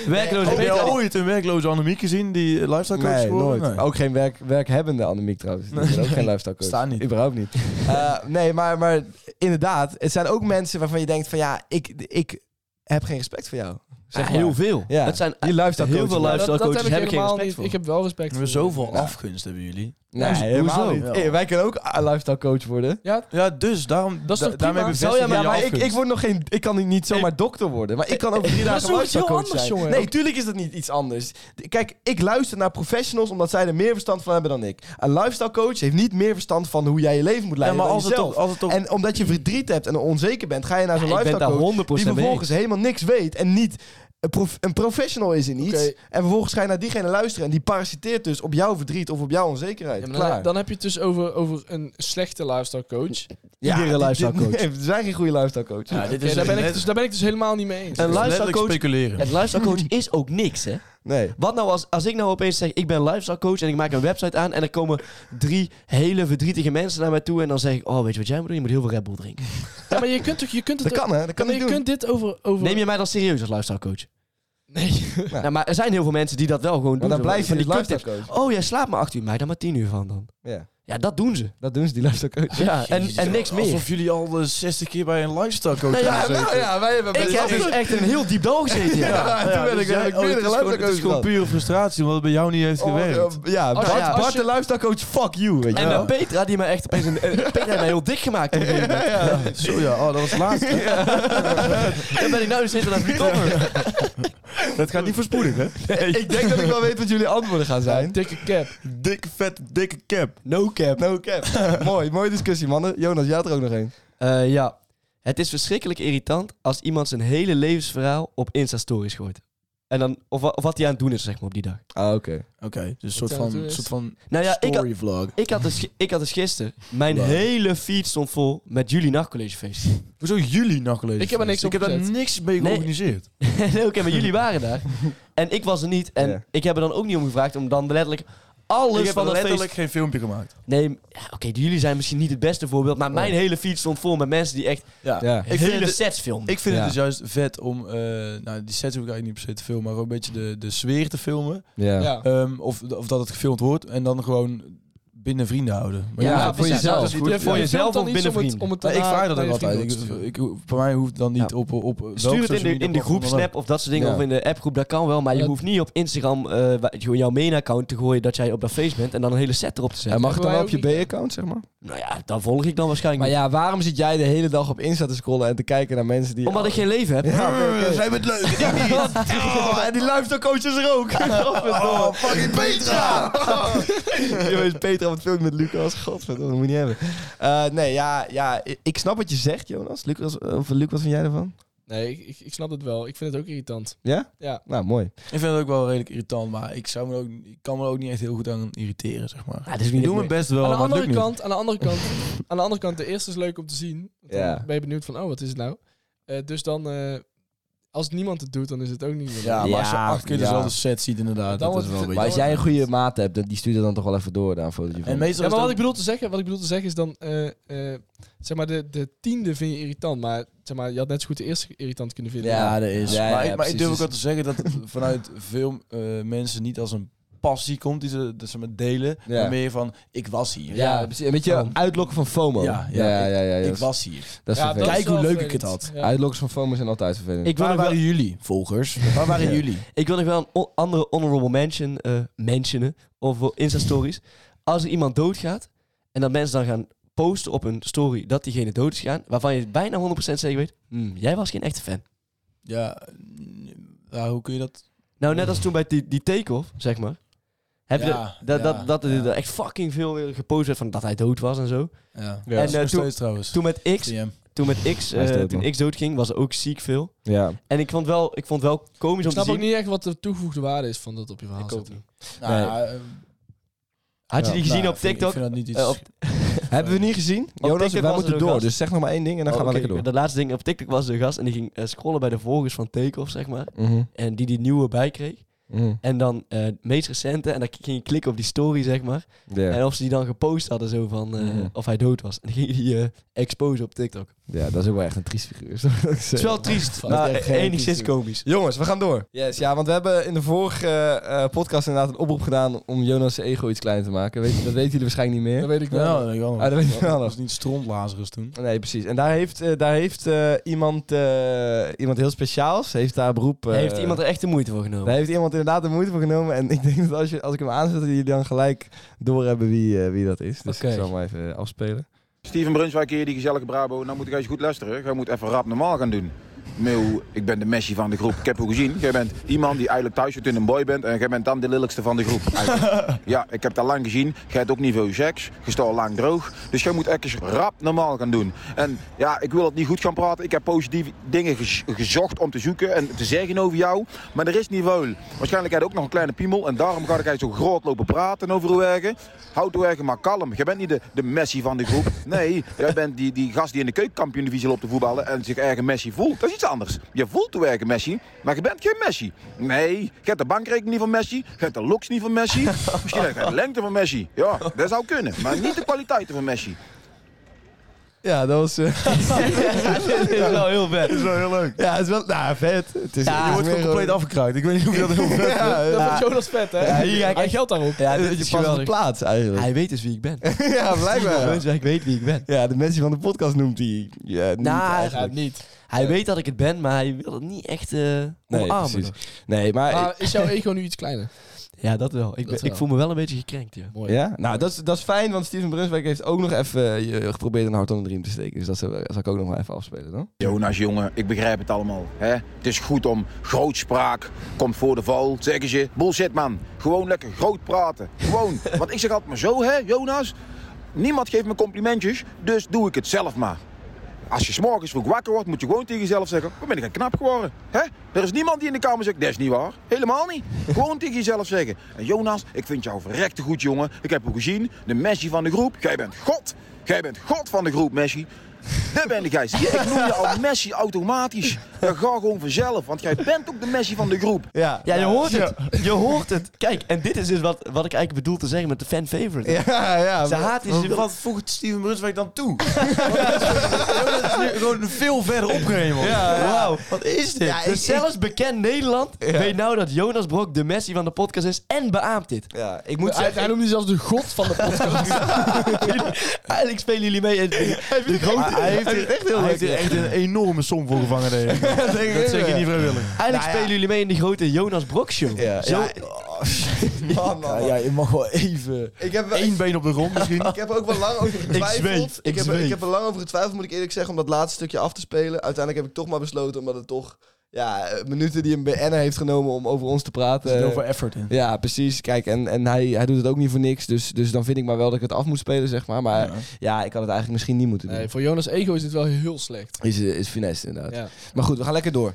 D: werkloze
C: Heb
D: Petra.
C: je
D: die-
C: ooit een werkloze Annemiek gezien die lifestyle coach
B: Nee,
C: is geworden?
B: nooit. Ook geen werk, werkhebbende Annemiek trouwens. Die
C: Nee.
B: is ook geen lifestyle coach.
C: Staat niet.
B: Überhaupt niet. Eh, nee, maar, maar inderdaad. Het zijn ook mensen waarvan je denkt van ja, ik, ik heb geen respect voor jou. Zeg
D: Ah,
B: maar.
D: heel veel.
B: Ja.
D: Het zijn
B: Die lifestyle
D: heel
B: coach.
D: veel
B: Ja,
E: Maar
D: lifestyle
E: dat, dat
D: coaches
E: heb ik
D: heb ik geen
E: helemaal
D: respect
E: niet.
D: voor.
E: Ik heb wel respect
C: We
E: voor.
C: zoveel afgunst hebben jullie.
B: Nee,
D: Hoezo?
B: helemaal
D: Hoezo?
B: niet. Eh, wij kunnen ook eh, lifestyle coach worden.
E: Ja,
C: Ja, dus daarom,
E: Dat is
C: da-
E: toch
C: daarmee
E: prima?
C: bevestig
E: Zou
C: je
E: jij maar-
C: je
B: maar ik,
C: afgunst.
B: ik, word nog geen, ik kan niet zomaar dokter worden. Maar ik kan ook drie
E: dat is
B: dagen
E: toch iets heel
B: lifestyle coach
E: anders,
B: zijn.
E: jongen.
B: Nee, tuurlijk is dat niet iets anders. Kijk, ik luister naar professionals omdat zij er meer verstand van hebben dan ik. Een lifestyle coach heeft niet meer verstand van hoe jij je leven moet
C: Ja,
B: leiden
C: maar
B: dan
C: als het
B: jezelf.
C: toch... Als het toch
B: En omdat je verdriet hebt en onzeker bent, ga je naar zo'n
D: Ja, ik ben
B: lifestyle
D: daar
B: coach
D: 100%
B: die
D: mee
B: vervolgens helemaal niks weet en niet een, prof- een professional is in iets.
E: Oké.
B: En vervolgens ga je naar diegene luisteren en die parasiteert dus op jouw verdriet of op jouw onzekerheid.
E: Ja, maar
B: Klaar.
E: dan, dan heb je het dus over, over een slechte lifestyle coach.
B: Ja,
D: iedere
B: dit-
D: lifestyle
B: dit-
D: coach.
B: nee, er zijn geen goede lifestyle coach.
C: ja, dit
E: Oké,
C: is
E: daar, ben ik
C: net- Eh,
E: dus, daar ben ik dus helemaal niet mee eens.
D: En
C: dit is
D: lifestyle
C: letterlijk
D: coach-
C: speculeren.
D: Het lifestyle coach is ook niks, hè?
B: Nee.
D: Wat nou als, als ik nou opeens zeg, ik ben lifestyle coach en ik maak een website aan en er komen drie hele verdrietige mensen naar mij toe en dan zeg ik, oh, weet je wat jij moet doen? Je moet heel veel Red Bull drinken.
E: Ja, maar je kunt toch je kunt het
B: Dat kan hè, dat Nou, kan
E: maar
B: ik
E: je
B: doen.
E: kunt dit over over
D: Neem je mij dan serieus als lifestyle coach?
E: nee.
D: Nou, maar er zijn heel veel mensen die dat wel gewoon
B: Maar
D: doen.
B: dan
D: zo,
B: blijf je
D: van
B: die
D: die
B: lifestyle
D: kuttips.
B: coach.
D: Oh, jij slaapt maar acht uur, mij dan maar tien uur van dan.
B: Ja,
D: Ja, dat doen ze.
B: dat doen ze, die lifestyle coach.
D: Ja, en, en niks meer.
C: Alsof jullie al de 60 keer bij een lifestyle coach
D: Nee, ja,
C: hebben gezeten.
B: ja, wij hebben
D: Ik heb dus echt een heel diep dal gezeten. Ja.
B: Ja, toen ben ik-
C: dus jij-
B: ik
C: oh,
B: ben
C: het
B: een
C: is gewoon-
B: lifestyle
C: Het is gewoon
B: coach dan.
C: pure frustratie, omdat het bij jou niet heeft gewerkt.
B: ja,
C: nou,
B: Bart,
E: ja, als
B: Bart
E: je-
B: de lifestyle coach, fuck you, weet je
D: En
B: wel.
D: eh, Petra, die mij echt opeens... Een, eh, Petra heeft mij heel dik gemaakt. op een gegeven moment.
C: Zo ja, oh, dat was laatst.
D: Dan ben ik nou dus zitten aan het verkopen.
C: Dat gaat niet voorspoedig, hè?
B: Ik denk dat ik wel weet wat jullie antwoorden gaan zijn.
E: dikke cap.
C: Dikke, vet, dikke cap.
B: No cap. No cap. mooi, mooie discussie, mannen. Jonas, jij had er ook nog een.
D: Eh, ja. Het is verschrikkelijk irritant als iemand zijn hele levensverhaal op Insta-stories gooit. En dan, of, wa- of wat hij aan het doen is, zeg maar, op die dag.
B: Ah, oké.
C: Oké, dus een soort
E: Vertel het
C: van,
E: eens.
C: soort van
D: Nou ja, ik had,
C: storyvlog.
D: ik had, dus, ik had dus gisteren... Mijn
C: Wow.
D: hele feed stond vol met jullie nachtcollegefeest.
C: Hoezo jullie nog gelezen?
E: Ik heb er niks
C: Ik heb daar
E: opgezet.
C: niks mee
D: Nee.
C: georganiseerd.
D: nee, oké, maar jullie waren daar. En ik was er niet. En
B: Ja.
D: ik heb er dan ook niet om gevraagd om dan letterlijk alles
C: ik heb
D: van
C: er
D: dat
C: letterlijk
D: feest...
C: geen filmpje gemaakt.
D: Nee, ja, oké, jullie zijn misschien niet het beste voorbeeld. Maar mijn hele feed stond vol met mensen die echt
C: Ja.
B: Ja.
C: Ik vind
D: hele
C: het,
D: sets filmen.
C: ik vind
B: Ja.
C: het dus juist vet om, eh, nou die sets hoef ik eigenlijk niet per se te filmen, maar ook een beetje de, de sfeer te filmen.
B: Ja.
E: Ja.
C: Ehm, of, of dat het gefilmd wordt en dan gewoon binnen vrienden houden. Maar
B: Ja,
C: ja,
B: voor
E: precies.
B: jezelf.
E: Nou, dus
B: Goed.
E: je- je
B: Voor
E: filmt
D: jezelf
E: dan
D: of
E: iets
D: binnen
E: om het-
D: vrienden?
E: Om het
C: Nou, ik
E: daarna
C: vraag dat
E: naar
C: ook
E: je
C: altijd. Ik,
E: vrienden door te
C: ik, ik- voor mij hoeft dan niet op, op, op welke
D: Stuur het in
C: social
D: de,
C: media
D: in de
C: platform
D: groep,
C: dan ook.
D: snap of dat soort dingen.
B: Ja.
D: Of in de appgroep, dat kan wel. Maar je
E: Dat-
D: hoeft niet op Instagram eh, wa- gewoon jouw main-account te gooien dat jij op dat feest bent. En dan een hele set erop te zetten.
B: En mag het dan
E: Wij
B: wel
E: ook
B: op je
E: niet.
B: B-account, zeg maar?
D: nou ja, dan volg ik dan waarschijnlijk
B: Maar ja, waarom zit jij de hele dag op Insta te scrollen en te kijken naar mensen die...
D: niet. Omdat ik geen leven heb.
B: Ja, oké, oké.
C: Zij bent leuk.
B: Oh, en die lifestyle coach is er ook.
C: Oh, fucking Petra!
B: Je weet Peter aan het filmpje met Lucas. Godverdomme, dat moet je niet hebben. Eh, nee, ja, ja, ik- ik snap wat je zegt, Jonas. Lucas, eh, of Luc, wat vind jij ervan?
E: gaan. Nee, ik, ik, ik snap het wel. Ik vind het ook irritant.
B: Ja?
E: Ja.
B: Nou, mooi.
C: Ik vind het ook wel redelijk irritant, maar ik, zou me er ook, ik kan me er ook niet echt heel goed aan irriteren, zeg maar.
D: Ja, dat is
C: Ik
D: niet
C: doe mijn best wel,
E: Aan de
C: maar het
E: andere
C: lukt niet.
E: kant, aan de andere kant, aan de andere kant, de eerste is leuk om te zien. Want dan
B: Ja.
E: ben je benieuwd van, oh, wat is het nou? Eh, dus dan, eh, als niemand het doet, dan is het ook niet meer.
G: Ja, maar als je
B: Ja,
G: acht keer
B: ja.
G: dezelfde set ziet inderdaad,
E: Dan
G: dat is
E: wordt
G: wel een
E: het-
B: Maar
G: beetje...
B: als jij een goede maat hebt, dan- die stuurt het dan toch wel even door naar een fotootje van.
G: En meestal
E: Ja,
G: is
E: maar wat
G: dat-
E: ik bedoel te zeggen, wat ik bedoel te zeggen is dan, eh, eh, zeg maar, de, de tiende vind je irritant, maar, zeg maar je had net zo goed de eerste irritant kunnen vinden.
B: Ja,
G: dat is.
B: Ja, ja,
G: maar ik, maar
B: precies.
G: ik durf ook wel te zeggen dat het vanuit veel eh, mensen niet als een passie komt die ze, dat ze met delen,
B: Ja.
G: maar meer van ik was hier.
B: ja, precies. Een beetje uitlokken van FOMO.
G: Ja, ja, Ik was hier.
B: Dat is
E: Ja,
B: vervelend.
E: dat
G: Kijk
E: is
G: hoe
E: wel
G: leuk ik het
E: vervelend.
G: had.
E: Ja.
B: Uitlokkers van FOMO zijn altijd vervelend.
D: Ik wil,
G: Waar
D: nog wel,
G: waren jullie, volgers? Waar waren jullie?
D: ik wil nog wel een o- andere honorable mention eh mentionen of voor Insta-stories. Als er iemand doodgaat en dat mensen dan gaan posten op hun story dat diegene dood is gegaan, waarvan je bijna 100% zeker weet, "Hmm, jij was geen echte fan.
G: Ja, mm, ja, hoe kun je dat?
D: Nou, net als toen bij die, die take-off, zeg maar. Heb je
G: Ja,
D: dat, dat,
G: ja,
D: dat, dat er
G: ja.
D: echt fucking veel weer gepost werd van dat hij dood was en zo.
G: Ja.
B: Ja.
D: En,
G: En
D: eh,
G: nog
D: toen-
G: steeds trouwens.
D: Toen met X,
G: DM.
D: toen met X,
B: Hij is
D: eh,
B: dood,
D: toen
B: man.
D: X doodging, was er ook ziek veel.
B: ja.
D: En ik vond wel, ik vond wel komisch
E: Ik
D: om te
E: snap ook
D: zien.
E: niet echt wat de toegevoegde waarde is van dat op je verhaal
D: Ik ook
E: zetten.
D: niet.
G: Nou,
B: Nee.
G: ja, eh,
D: Ah, Had je die
G: nou,
D: gezien
G: ik
D: op
G: vind-
D: TikTok?
G: Ik vind dat niet iets...
D: Eh, op-
B: Hebben we niet gezien? Jonas,
D: TikTok
B: wij
D: was
B: moeten
D: er ook
B: door.
D: gast.
B: Dus zeg nog maar één ding en dan
D: Oh,
B: gaan we
D: oké,
B: lekker door.
D: De laatste ding op TikTok was de gast en die ging eh, scrollen bij de volgers van Takeoff, zeg maar.
B: Mhm,
D: En die die nieuwe bij kreeg.
B: mhm.
D: En dan eh het meest recente, en dan ging je klikken op die story, zeg maar.
B: Ja.
D: En of ze die dan gepost hadden, zo van eh,
B: Mhm.
D: of hij dood was. En dan ging je die eh exposen op TikTok. Het
B: Ja, dat is ook wel echt een triest figuur. is dat wat ik
D: is
B: zeg.
D: wel triest,
B: Dat is
D: maar
B: echt geen
D: enigszins
B: triest
D: komisch.
B: Jongens, we gaan door. Yes, ja, want we hebben in de vorige eh, eh, podcast inderdaad een oproep gedaan om Jonas' ego iets kleiner te maken. Weet, dat weten jullie waarschijnlijk niet
E: Dat
B: meer.
E: weet ik wel.
D: Nou,
G: dat weet ik wel nog.
B: Ah, dat weet ik wel nog.
G: was niet strontlazerus toen.
B: Nee, precies. En daar heeft, eh, daar heeft eh, iemand, eh, iemand heel speciaals, heeft daar beroep... eh,
D: Heeft iemand er echt de moeite voor genomen?
B: daar heeft iemand inderdaad de moeite voor genomen. En ik denk dat als, je, als ik hem aanzet, dat jullie dan gelijk doorhebben wie, eh, wie dat is. Dus
D: Oké.
B: ik zal hem maar even eh, afspelen.
C: Steven Brunswijk hier, die gezellige Brabo. Nou moet ik eens goed luisteren. Jij moet even rap normaal gaan doen. Meeuw, ik ben de Messi van de groep. Ik heb u gezien. Jij bent die man die eigenlijk thuis zit in een boy bent. En jij bent dan de lelijkste van de groep. eigenlijk. ja, ik heb dat lang gezien. Jij hebt ook niet veel seks. Je staat al lang droog. Dus jij moet echt eens rap normaal gaan doen. En ja, ik wil het niet goed gaan praten. Ik heb positieve dingen gez- gezocht om te zoeken en te zeggen over jou. Maar er is niet veel. Waarschijnlijk heb je ook nog een kleine piemel. En daarom ga ik eens zo groot lopen praten over uw eigen. Houd uw eigen maar kalm. Jij bent niet de, de Messi van de groep. Nee, jij bent die, die gast die in de keukenkampioen-divisie loopt te voetballen en zich eigen Messi voelt. Dat is iets anders. Je voelt uw eigen Messi, maar je bent geen Messi. Nee, je hebt de bankrekening niet van Messi, je hebt de looks niet van Messi. Misschien heb je de lengte van Messi. Ja, dat zou kunnen, maar niet de kwaliteiten van Messi.
B: Ja, dat was... eh,
D: Dit is wel heel vet.
B: is wel heel leuk. Ja, het is wel... Nou, vet. Het is,
D: Ja,
B: het
G: Je
B: is
G: wordt
B: meer
G: gewoon compleet
B: gewoon-
G: afgekruid. Ik weet niet of je dat heel vet vindt.
B: Ja,
E: Dat
B: ja.
E: vindt Jonas vet, hè?
B: Ja, hier ga ik
E: Hij
B: echt-
E: geldt daarop.
B: Ja,
D: dit
B: dat
D: is
B: je pas op
D: geweldig.
B: plaats eigenlijk.
D: Hij weet dus wie ik ben.
B: Ja,
D: Steven
B: blijkbaar.
D: Brunswijk weet wie ik ben.
B: Ja, de mensen van de podcast noemt hij. Ja, niet
D: Nou,
B: eigenlijk.
E: Ja, niet.
D: Hij weet dat ik het ben, maar hij wil het niet echt eh omarmen.
B: precies.
D: nog.
B: Nee, maar...
E: Maar is jouw ego nu iets kleiner?
D: Ja, dat wel. Ik, ben-
E: Dat wel.
D: ik voel me wel een beetje gekrenkt, ja.
E: Mooi.
B: Ja? Nou, dat is, dat is fijn, want Steven Brunswijk heeft ook nog even eh, je- geprobeerd een hart onder de riem te steken. Dus dat zal, dat zal ik ook nog wel even afspelen dan.
C: Jonas, jongen, ik begrijp het allemaal. Hè? Het is goed om grootspraak, komt voor de val, zeggen ze. Bullshit, man. Gewoon lekker groot praten. Gewoon. Want ik zeg altijd maar zo, hè, Jonas. Niemand geeft me complimentjes, dus doe ik het zelf maar. Als je s'morgens vroeg wakker wordt, moet je gewoon tegen jezelf zeggen... "Wat ben ik een knap geworden? Hè? Er is niemand die in de kamer zegt, dat is niet waar. Helemaal niet. Gewoon tegen jezelf zeggen. En Jonas, ik vind jou verrekte goed, jongen. Ik heb u gezien, de Messi van de groep. Jij bent God. Jij bent God van de groep, Messi. Daar ben ik, jij. Zie je, ik noem je al Messi automatisch. Dat gaat gewoon vanzelf, want jij bent ook de Messi van de groep.
B: Ja,
D: Ja, je hoort het. Je hoort het. Kijk, en dit is dus wat, wat ik eigenlijk bedoel te zeggen met de fan-favorite.
B: Ja, ja.
D: Ze haat is...
G: Wat voegt Steven Brunswijk dan toe? Dat is nu gewoon veel verder opgehemeld.
D: Wauw, wat is dit?
B: Ja, ik-
D: dus zelfs bekend Nederland weet nou dat Jonas Brok de Messi van de podcast is en beaamt dit.
B: Ja, ik moet
E: Hij,
B: zeggen...
E: hij noemde zelfs de god van de podcast.
D: Eigenlijk spelen jullie mee in de grote...
G: Hij heeft er echt,
B: heel
G: hij
B: leuk
G: heeft er echt een enorme som voor gevangen. denk ik. Nou Dat zeg je niet vrijwillig.
D: Eigenlijk spelen jullie mee in de grote Jonas Brok show.
B: Ja,
D: Zo,
B: ja. Man, man, Oh, man.
G: ja, je mag wel even
B: Ik heb wel-
G: één been op de grond misschien.
B: Ik heb er ook wel lang over getwijfeld.
G: zweef,
B: ik,
G: ik
B: heb,
G: zweef.
B: ik heb er lang over getwijfeld, moet ik eerlijk zeggen, om dat laatste stukje af te spelen. Uiteindelijk heb ik toch maar besloten, omdat het toch ja, eh, minuten die een BN'er heeft genomen om over ons te
G: Er
B: praten.
G: zit heel veel effort in.
B: Ja, precies. Kijk, en, en hij, hij doet het ook niet voor niks. Dus, dus dan vind ik maar wel dat ik het af moet spelen, zeg maar. Maar ja, ik had het eigenlijk misschien niet moeten doen.
E: Nee, voor Jonas' ego is dit wel heel slecht.
B: Is, eh, is finesse inderdaad.
E: Ja.
B: Maar goed, we gaan lekker door.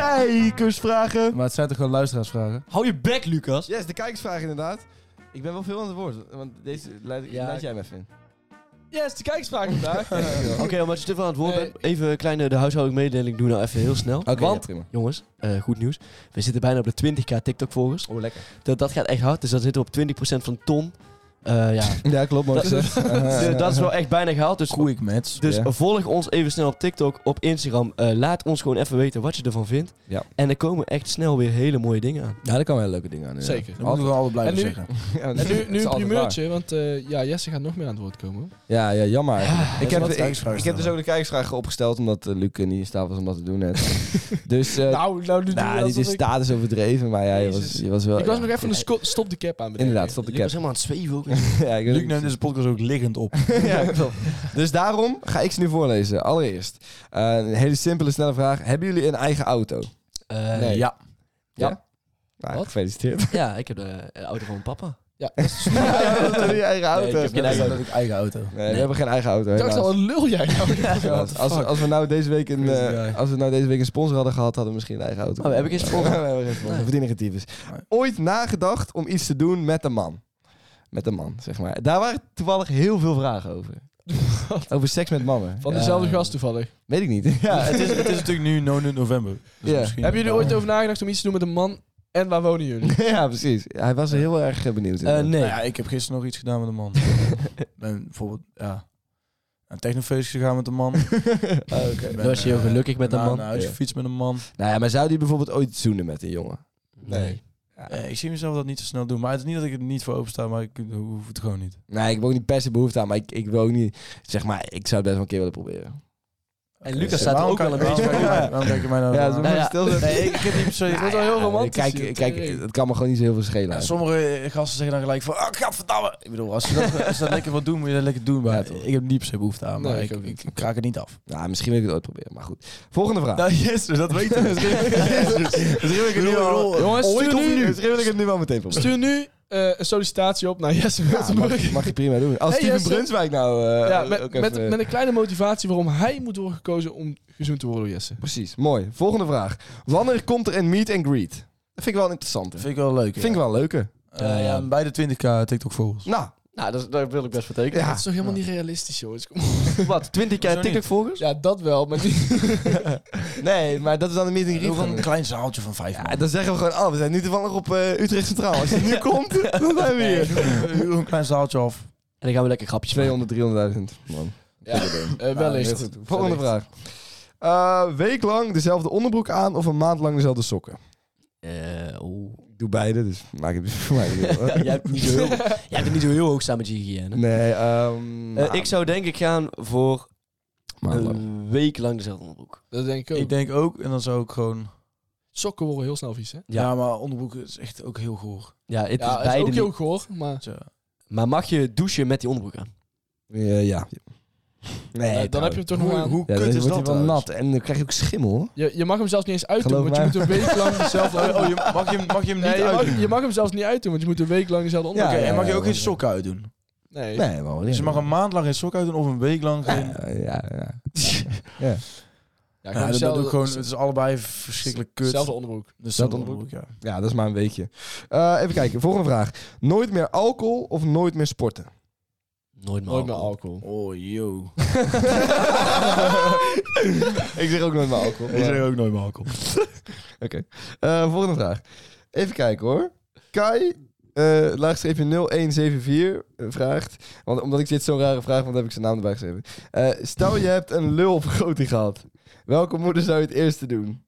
B: kijkersvragen.
C: Maar het zijn toch gewoon luisteraarsvragen?
D: Hou je bek, Lucas.
B: Yes, de kijkersvragen inderdaad. Ik ben wel veel aan het woord, want deze leid,
C: Ja,
B: leid
C: ik-
B: jij me even in.
E: Yes, de kijkersvraag vandaag.
D: Oké, omdat je te veel aan het woord
E: Nee.
D: bent, even een kleine de huishoudelijke mededeling doen nou even heel snel. Want,
B: prima.
D: jongens, eh, goed nieuws. We zitten bijna op de 20k TikTok-volgers.
B: Oh, lekker.
D: Dat, dat gaat echt hard, dus dan zitten we op 20% van ton. Eh, ja,
B: Ja, klopt, man.
D: Dat- Eh, dat is wel echt bijna gehaald. Dus,
C: Quick match.
D: dus
B: Ja.
D: volg ons even snel op TikTok, op Instagram. Eh, laat ons gewoon even weten wat je ervan vindt.
B: Ja.
D: En er komen echt snel weer hele mooie dingen aan.
B: Ja, daar kan wel leuke dingen aan.
E: Zeker.
C: Dat moeten we altijd blijven
E: En nu-
C: zeggen.
E: En nu, nu een primeurtje, want eh, ja, Jesse gaat nog meer aan het woord komen.
B: Ja, ja, jammer. eigenlijk. ik,
C: is
B: heb,
C: wat
B: de- ik,
C: kijkersvragen
B: ik heb dus
C: stellen.
B: ook de kijkersvragen opgesteld, omdat eh, Luc eh, niet in staat was om dat te doen net. dus, eh nou,
E: nou, nou, nu doe je
B: dit
E: alsof
B: is
E: ik-
B: status overdreven, maar ja, je was,
E: Jezus.
B: je was wel...
E: Ik was
B: ja.
E: nog even een sco- stop de cap aan bedenken.
B: Inderdaad, stop de
D: Ik
B: cap.
D: was helemaal dus aan het zweven ook.
B: ja, ik weet
C: Luc
B: ook
C: neemt
B: niet.
C: deze podcast ook liggend op.
B: ja, klopt. Dus daarom ga ik ze nu voorlezen. Allereerst, eh, een hele simpele, snelle vraag. Hebben jullie een eigen auto?
D: Eh,
B: Nee.
D: ja.
B: Nou,
E: Wat?
B: Gefeliciteerd.
D: ja, ik heb de eh, auto van mijn papa.
E: Ja.
B: Ja, dat is niet je eigen auto.
D: ik heb geen eigen
B: Nee,
C: ik eigen auto.
B: we hebben geen eigen auto,
E: Ik dacht al,
B: helaas.
E: wat lul jij nou?
B: Ja, als, als, als we nou deze week een,
C: Crazy
B: eh,
C: guy.
B: als we nou deze week een sponsor hadden gehad, hadden we misschien een eigen auto.
D: Oh, we hebben geen sponsor.
B: we hebben geen sponsor. We verdienen geen tyfus. Ooit nagedacht om iets te doen met een man. Met een man, zeg maar. Daar waren toevallig heel veel vragen over. over seks met mannen.
E: Van
B: Ja,
E: dezelfde gast toevallig.
B: Weet ik niet. ja,
C: het, is, het is natuurlijk nu 9 november. Dus
B: Ja.
C: misschien-
E: Hebben jullie er ooit over nagedacht om iets te doen met een man? En waar wonen jullie?
B: ja, precies. Hij was er heel erg eh, benieuwd. in.
D: Eh, nee.
C: Nou ja, ik heb gisteren nog iets gedaan met een man. ben bijvoorbeeld, ja. Een technofeestje gegaan met een man.
B: Ah, oké. Nou,
D: Dan Ah, was je heel gelukkig met een
C: Na
D: man.
C: eh, Naar huis
B: Ja.
C: gefietst met een man.
B: Nou ja, maar zou die bijvoorbeeld ooit zoenen met een jongen?
D: Nee.
C: Eh, ik zie mezelf dat niet zo snel doen. Maar het is niet dat ik er niet voor open sta, maar ik hoef het gewoon niet.
B: Nee, Nou, ik heb ook niet per se behoefte aan, maar ik, ik wil ook niet... Zeg maar, ik zou het best wel een keer willen proberen.
D: En
C: Oké,
D: Lucas
C: dus
D: staat er
C: waarom
D: ook
C: kijk-
D: wel een beetje
C: waarom kijk je mij-
D: bij.
C: Waarom kijk je mij nou?
B: Ja,
C: aan?
B: zo
D: Nou ja.
B: stil zijn.
C: Nee, ik heb niet per se...
E: Dat is wel heel romantisch,
B: Kijk,
E: joh.
B: kijk, het kan me gewoon niet zo heel veel schelen.
C: Ja,
B: eigenlijk.
C: sommige gasten zeggen dan gelijk van, ah, gadverdamme. Ik bedoel, als je dat, als je dat lekker wil doen, moet je dat lekker doen. Maar
B: Ja, toch.
C: ik heb niet per se behoefte aan, maar
E: Nee, ik
C: ik,
E: ook
C: ik, kraak het niet af.
B: Nou, misschien wil ik het ooit proberen, maar goed. Volgende vraag.
C: Nou, yes, dat weet ik.
B: Misschien wil ik het nu al...
E: Jongens,
B: Ooit
E: stuur
B: of nu?
E: nu,
B: Misschien wil ik het nu al meteen proberen.
E: stuur nu eh, een sollicitatie op naar Jesse
B: Ja,
E: Wiltenburg.
B: mag, mag je prima doen. Als
E: Hey,
B: Steven
E: Jesse.
B: Brunswijk nou... eh,
E: ja,
B: ook
E: met,
B: even-
E: met, met een kleine motivatie waarom hij moet worden gekozen om gezoend te worden door Jesse.
B: Precies, mooi. Volgende vraag. Wanneer komt er een meet and greet? Dat vind ik Ehm, wel een interessante.
C: Vind ik wel leuk.
B: Vind ik wel leuke.
C: Eh, ja, bij de 20k TikTok volgers.
B: Nou,
D: Ehm, Nou, dat, daar wil ik best voor tekenen.
B: ja.
E: Dat is toch helemaal niet realistisch, jongens? Kom op.
D: Wat, 20k
C: Hoezo niet?
D: TikTok-volgers?
E: Ja, dat wel, maar niet...
B: Nee, maar dat is dan een meet and
C: Doe
B: greet.
C: gewoon
B: van-
C: een klein zaaltje van vijf
B: Ja,
C: man.
B: dan zeggen we gewoon, oh, we zijn nu toevallig op eh, Utrecht Centraal. Als je nu komt, dan zijn we
C: Nee,
B: hier.
C: doe- doe een klein zaaltje af.
D: En dan gaan we lekker grapjes maken.
B: 200, 300.000 man.
E: Ja, eh,
B: Ja,
E: wellicht.
B: heel goed. Volgende vraag. Eh, week lang dezelfde onderbroek aan of een maand lang dezelfde sokken?
D: Eh, oeh.
B: Ik doe beide, dus maak het voor mij niet uit.
D: Jij hebt niet zo heel- jij hebt het niet zo heel hoog staan met je hygiëne.
B: Nee, ehm
D: Eh, ik zou denk ik gaan voor
B: maand lang.
D: een week lang dezelfde onderbroek.
E: Dat denk ik ook.
C: Ik denk ook, en dan zou ik gewoon...
E: Sokken worden heel snel vies, hè?
D: Ja.
C: Ja, maar onderbroek is echt ook heel goor.
D: Ja, het
E: ja,
D: is
E: het is
D: beide
E: ook
D: niet-
E: heel goor, maar...
C: Zo.
D: Maar mag je douchen met die onderbroek aan?
B: Eh, ja. Nee,
E: Eh, dan heb je hem toch nog
C: Hoe,
E: aan.
C: hoe
B: ja,
C: kut
B: dan
C: is
B: wordt hij
C: dat
B: wel
C: dan?
B: nat en dan krijg je ook schimmel. hoor.
E: Je, je mag hem zelfs niet eens uitdoen,
B: Geloof
E: want je
B: mij.
E: moet een week lang dezelfde
C: Oh, je, mag, je, hem- mag je hem niet
E: Nee, je,
C: uitdoen?
E: mag, je mag hem zelfs niet uitdoen, want je moet een week lang
B: Ja,
E: dezelfde onderbroek
C: Oké,
B: ja,
C: en mag je
B: ja,
C: ook
B: ja.
C: geen sokken uitdoen?
E: Nee.
B: Nee, man.
C: Dus je mag een maand lang geen sok uitdoen of een week lang geen...
B: Ja, ja, ja.
E: Ja,
C: Ja, dat,
E: gewoon
C: dat doe
E: dezelfde-
C: ik gewoon, het is allebei verschrikkelijk kut.
E: Dezelfde onderbroek.
C: Dus
B: dat
C: dat onderbroek, ja.
B: Ja, dat is maar een weekje. Eh, even kijken, volgende vraag. Nooit meer alcohol of nooit meer sporten?
D: Nooit meer.
E: Nooit meer
D: alcohol.
E: alcohol.
C: Oh, yo.
B: ik zeg ook nooit meer alcohol. maar-
C: ook nooit meer alcohol.
B: Oké. Eh, volgende vraag. Even kijken hoor. Kai, eh laagstreepje 0174, eh, vraagt... Want omdat ik dit zo'n rare vraag vond, heb ik zijn naam erbij geschreven. Eh, stel je hebt een lulvergroting gehad. Welke moeder zou je het eerste doen?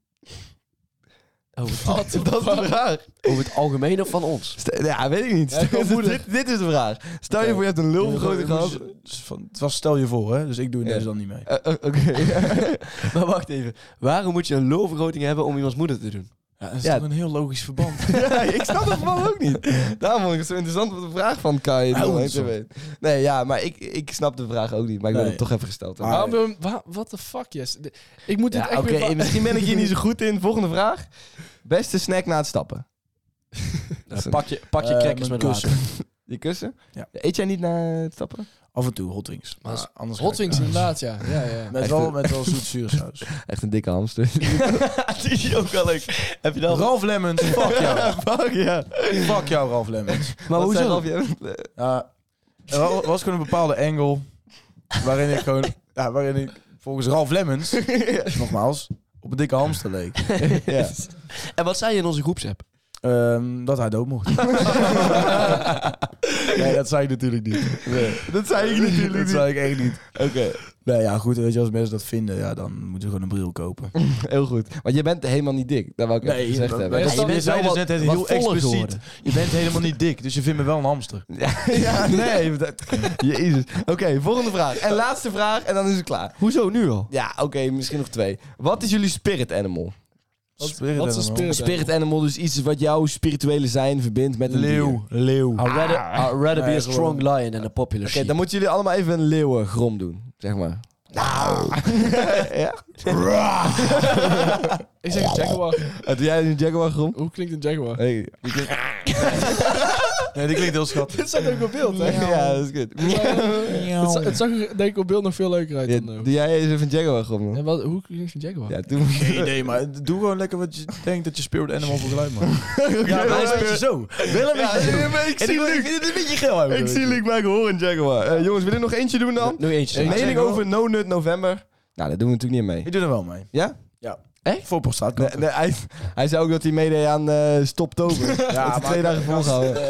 D: Over, het,
B: Dat is de vraag.
D: over het algemeen of van ons?
B: Stel- ja, weet ik niet.
E: Ja, gewoon moeder.
B: dit, dit is de vraag. Stel je voor je hebt een lulvergroting gehad...
C: Dus van, het was stel je voor, hè? Dus ik doe
B: Ja.
C: deze dan niet mee.
B: Eh, eh, Oké.
D: Maar wacht even. Waarom moet je een lulvergroting hebben om iemands moeder te doen?
C: Ja, dat is
B: Ja.
C: toch een heel logisch verband.
B: ja, ik snap dat van ook niet. Daarom vond ik het zo interessant wat de vraag van Kai.
C: Hij
B: wil
C: hoeft
B: even
C: zo.
B: weten. Nee, ja, maar ik, ik snap de vraag ook niet. Maar ik wil
C: Nee.
B: het toch even gesteld hebben.
E: Waarom wil je hem... wa- What the fuck, yes? De- Ik moet dit
B: Ja,
E: echt
B: oké,
E: weer... va-
B: misschien ben ik hier niet zo goed in. Volgende vraag. Beste snack na het stappen? Dat is een-
D: pak je, pak je
C: Eh,
D: crackers
C: mijn
D: met
C: kussen.
D: water.
B: Je kussen?
C: Ja.
B: Eet jij niet na het stappen?
C: Af en toe hot wings. Maar
E: is-
C: anders
E: Hot
C: ga ik-
E: wings inderdaad, ja. ja, ja.
C: Met wel, met wel zoet zuursaus.
B: Echt een dikke hamster.
D: Die is ook wel leuk. Heb je dan...
C: Ralf Lemmens, fuck jou.
D: Fuck ja.
C: fuck jou, Ralf Lemmens.
B: maar
D: hoezo?
B: hoezo? Je...
C: Ja, er wa- was gewoon een bepaalde angle waarin ik gewoon, ja, waarin ik volgens Ralf Lemmens, nogmaals, op een dikke hamster leek.
B: ja.
D: En wat zei je in onze groepsapp?
C: Ehm, dat hij dood mocht. nee, dat zei ik natuurlijk niet. Nee.
B: Dat zei ik
C: dat zei ik echt niet.
B: Oké,
C: Nee, ja, goed, weet je, als mensen dat vinden, ja, dan moeten ze gewoon een bril kopen.
B: heel goed. Want je bent helemaal niet dik. Dat wou ik even gezegd hebben.
E: dat-
C: je
E: je
C: bent
E: bent
C: zei
E: wel
C: dus
E: wat-
C: net
D: wat
C: heel
D: voller
C: expliciet.
D: geworden.
C: Je bent helemaal niet dik, dus je vindt me wel een hamster.
B: ja, nee. dat- Jezus. Oké, volgende vraag. En laatste vraag en dan is het klaar.
D: Hoezo nu al?
B: Ja, oké, misschien nog twee. Wat is jullie spirit animal?
E: Wat-
C: Spirit
E: wat is een
C: animal.
E: spirit?
B: Spirit animal, dus iets wat jouw spirituele zijn verbindt met een dier.
C: Leeuw, leeuw.
E: Ah.
D: I'd rather, I'd rather ah, be
C: Nee,
D: a strong lion than a popular
B: Oké,
D: sheep.
B: dan moeten jullie allemaal even een leeuwengrom doen, zeg maar.
E: Nou. Ik zeg een jaguar.
B: En doe jij een jaguar grom?
E: Hoe klinkt een jaguar?
B: Hey.
C: Nee, die klinkt heel schattig.
E: Dit staat ook op beeld, hè?
B: Ja, dat is goed.
E: Het, za- het zag er denk ik op beeld nog veel leuker uit
B: Ja,
E: dan... eh,
B: doe jij eens even een jaguar grom
E: ja,
B: dan?
E: wat, hoe klinkt een jaguar?
B: Ja, toen...
C: Geen idee, maar doe gewoon lekker wat je denkt dat je spirit animal voor geluid maakt. Ja,
B: maar
C: wel
B: een
C: een beetje
B: spirit-
C: zo. Wel een beetje zo.
B: ik
C: En ik wil- ik vind het een beetje geel hebben.
B: Ik zie Luc bij hoor een jaguar. Eh, jongens, willen we nog eentje doen dan?
D: Nu eentje.
B: Een
D: zeggen.
B: mening
C: Jaguar.
B: over No Nut November. Nou, dat doen we natuurlijk niet mee.
C: Ik doe er wel mee.
B: Ja?
C: Voor
B: Nee,
C: prostaatkanker.
B: nee, hij, hij zei ook dat hij meedeed aan eh Stoptober. ja, dat hij
C: maar- eh,
B: twee dagen volgehouden.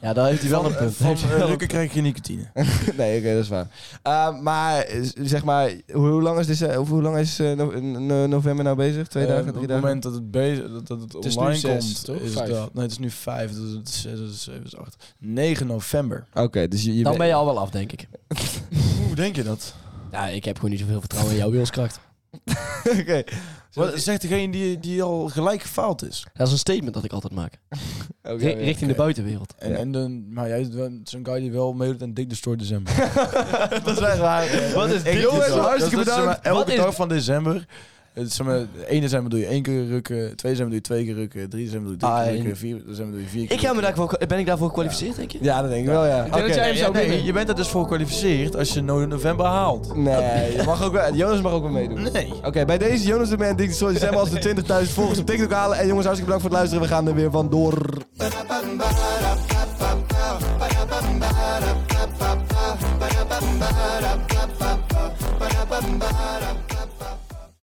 D: Ja, daar heeft hij wel een
C: Van,
D: punt.
C: van
D: Heeft hij wel
C: eh,
D: een
C: rukken krijg je nicotine.
B: nee, oké, dat is waar. Eh, maar eh, zeg maar, hoe, hoe lang is, dit, eh, hoe, hoe lang is eh, no- no- november nou bezig? Twee
C: Eh,
B: dagen,
C: op
B: drie
C: het
B: dagen?
C: moment dat het, bezig, dat, dat het
E: is nu
C: online
E: zes,
C: komt,
E: toch?
C: is
E: Vijf.
C: dat... Nee, het is nu 5, dat is eh, 6, dat is 7, dat is 8. 9 november.
B: Oké, dus je, je
D: Dan
B: weet-
D: ben je al wel af, denk ik.
C: Hoe denk je dat?
D: Ja, ik heb gewoon niet zoveel vertrouwen in jouw wilskracht.
B: Oké.
C: Wat, zegt degene die, die al gelijk gefaald is.
D: Dat is een statement dat ik altijd maak.
B: Oké,
D: Ri- richting de buitenwereld.
C: En,
B: Ja.
C: en dan, maar jij is wel zo'n guy die wel meedoet aan Dick Destroy December.
D: dat is echt waar. Wat is
C: Ik
D: dit?
C: jongens,
D: dus al?
C: hartstikke
D: Dat is zeg
C: bedankt.
D: maar
C: elke
D: elke
C: dag
D: dag
C: van december. 1 december doe je één keer rukken, 2 december doe je twee keer rukken, 3 december doe je drie
D: Ah,
C: keer
D: en-
C: rukken, 4 december doe je vier keer
D: Ik ga me
C: rukken.
D: daarvoor, ben ik daarvoor gekwalificeerd, denk je?
B: Ja, dat denk ik wel, ja.
E: denk dat jij hem
C: Ja,
E: zou
C: nee,
E: winnen.
C: je bent er dus voor gekwalificeerd als je no- november haalt.
B: Nee, je mag ook wel, Jonas mag ook wel meedoen.
C: Nee.
B: Oké, bij deze Jonas de Man, Dick Sorry, zijn we als de 20.000 volgers op TikTok halen. En jongens, hartstikke bedankt voor het luisteren. We gaan er weer vandoor.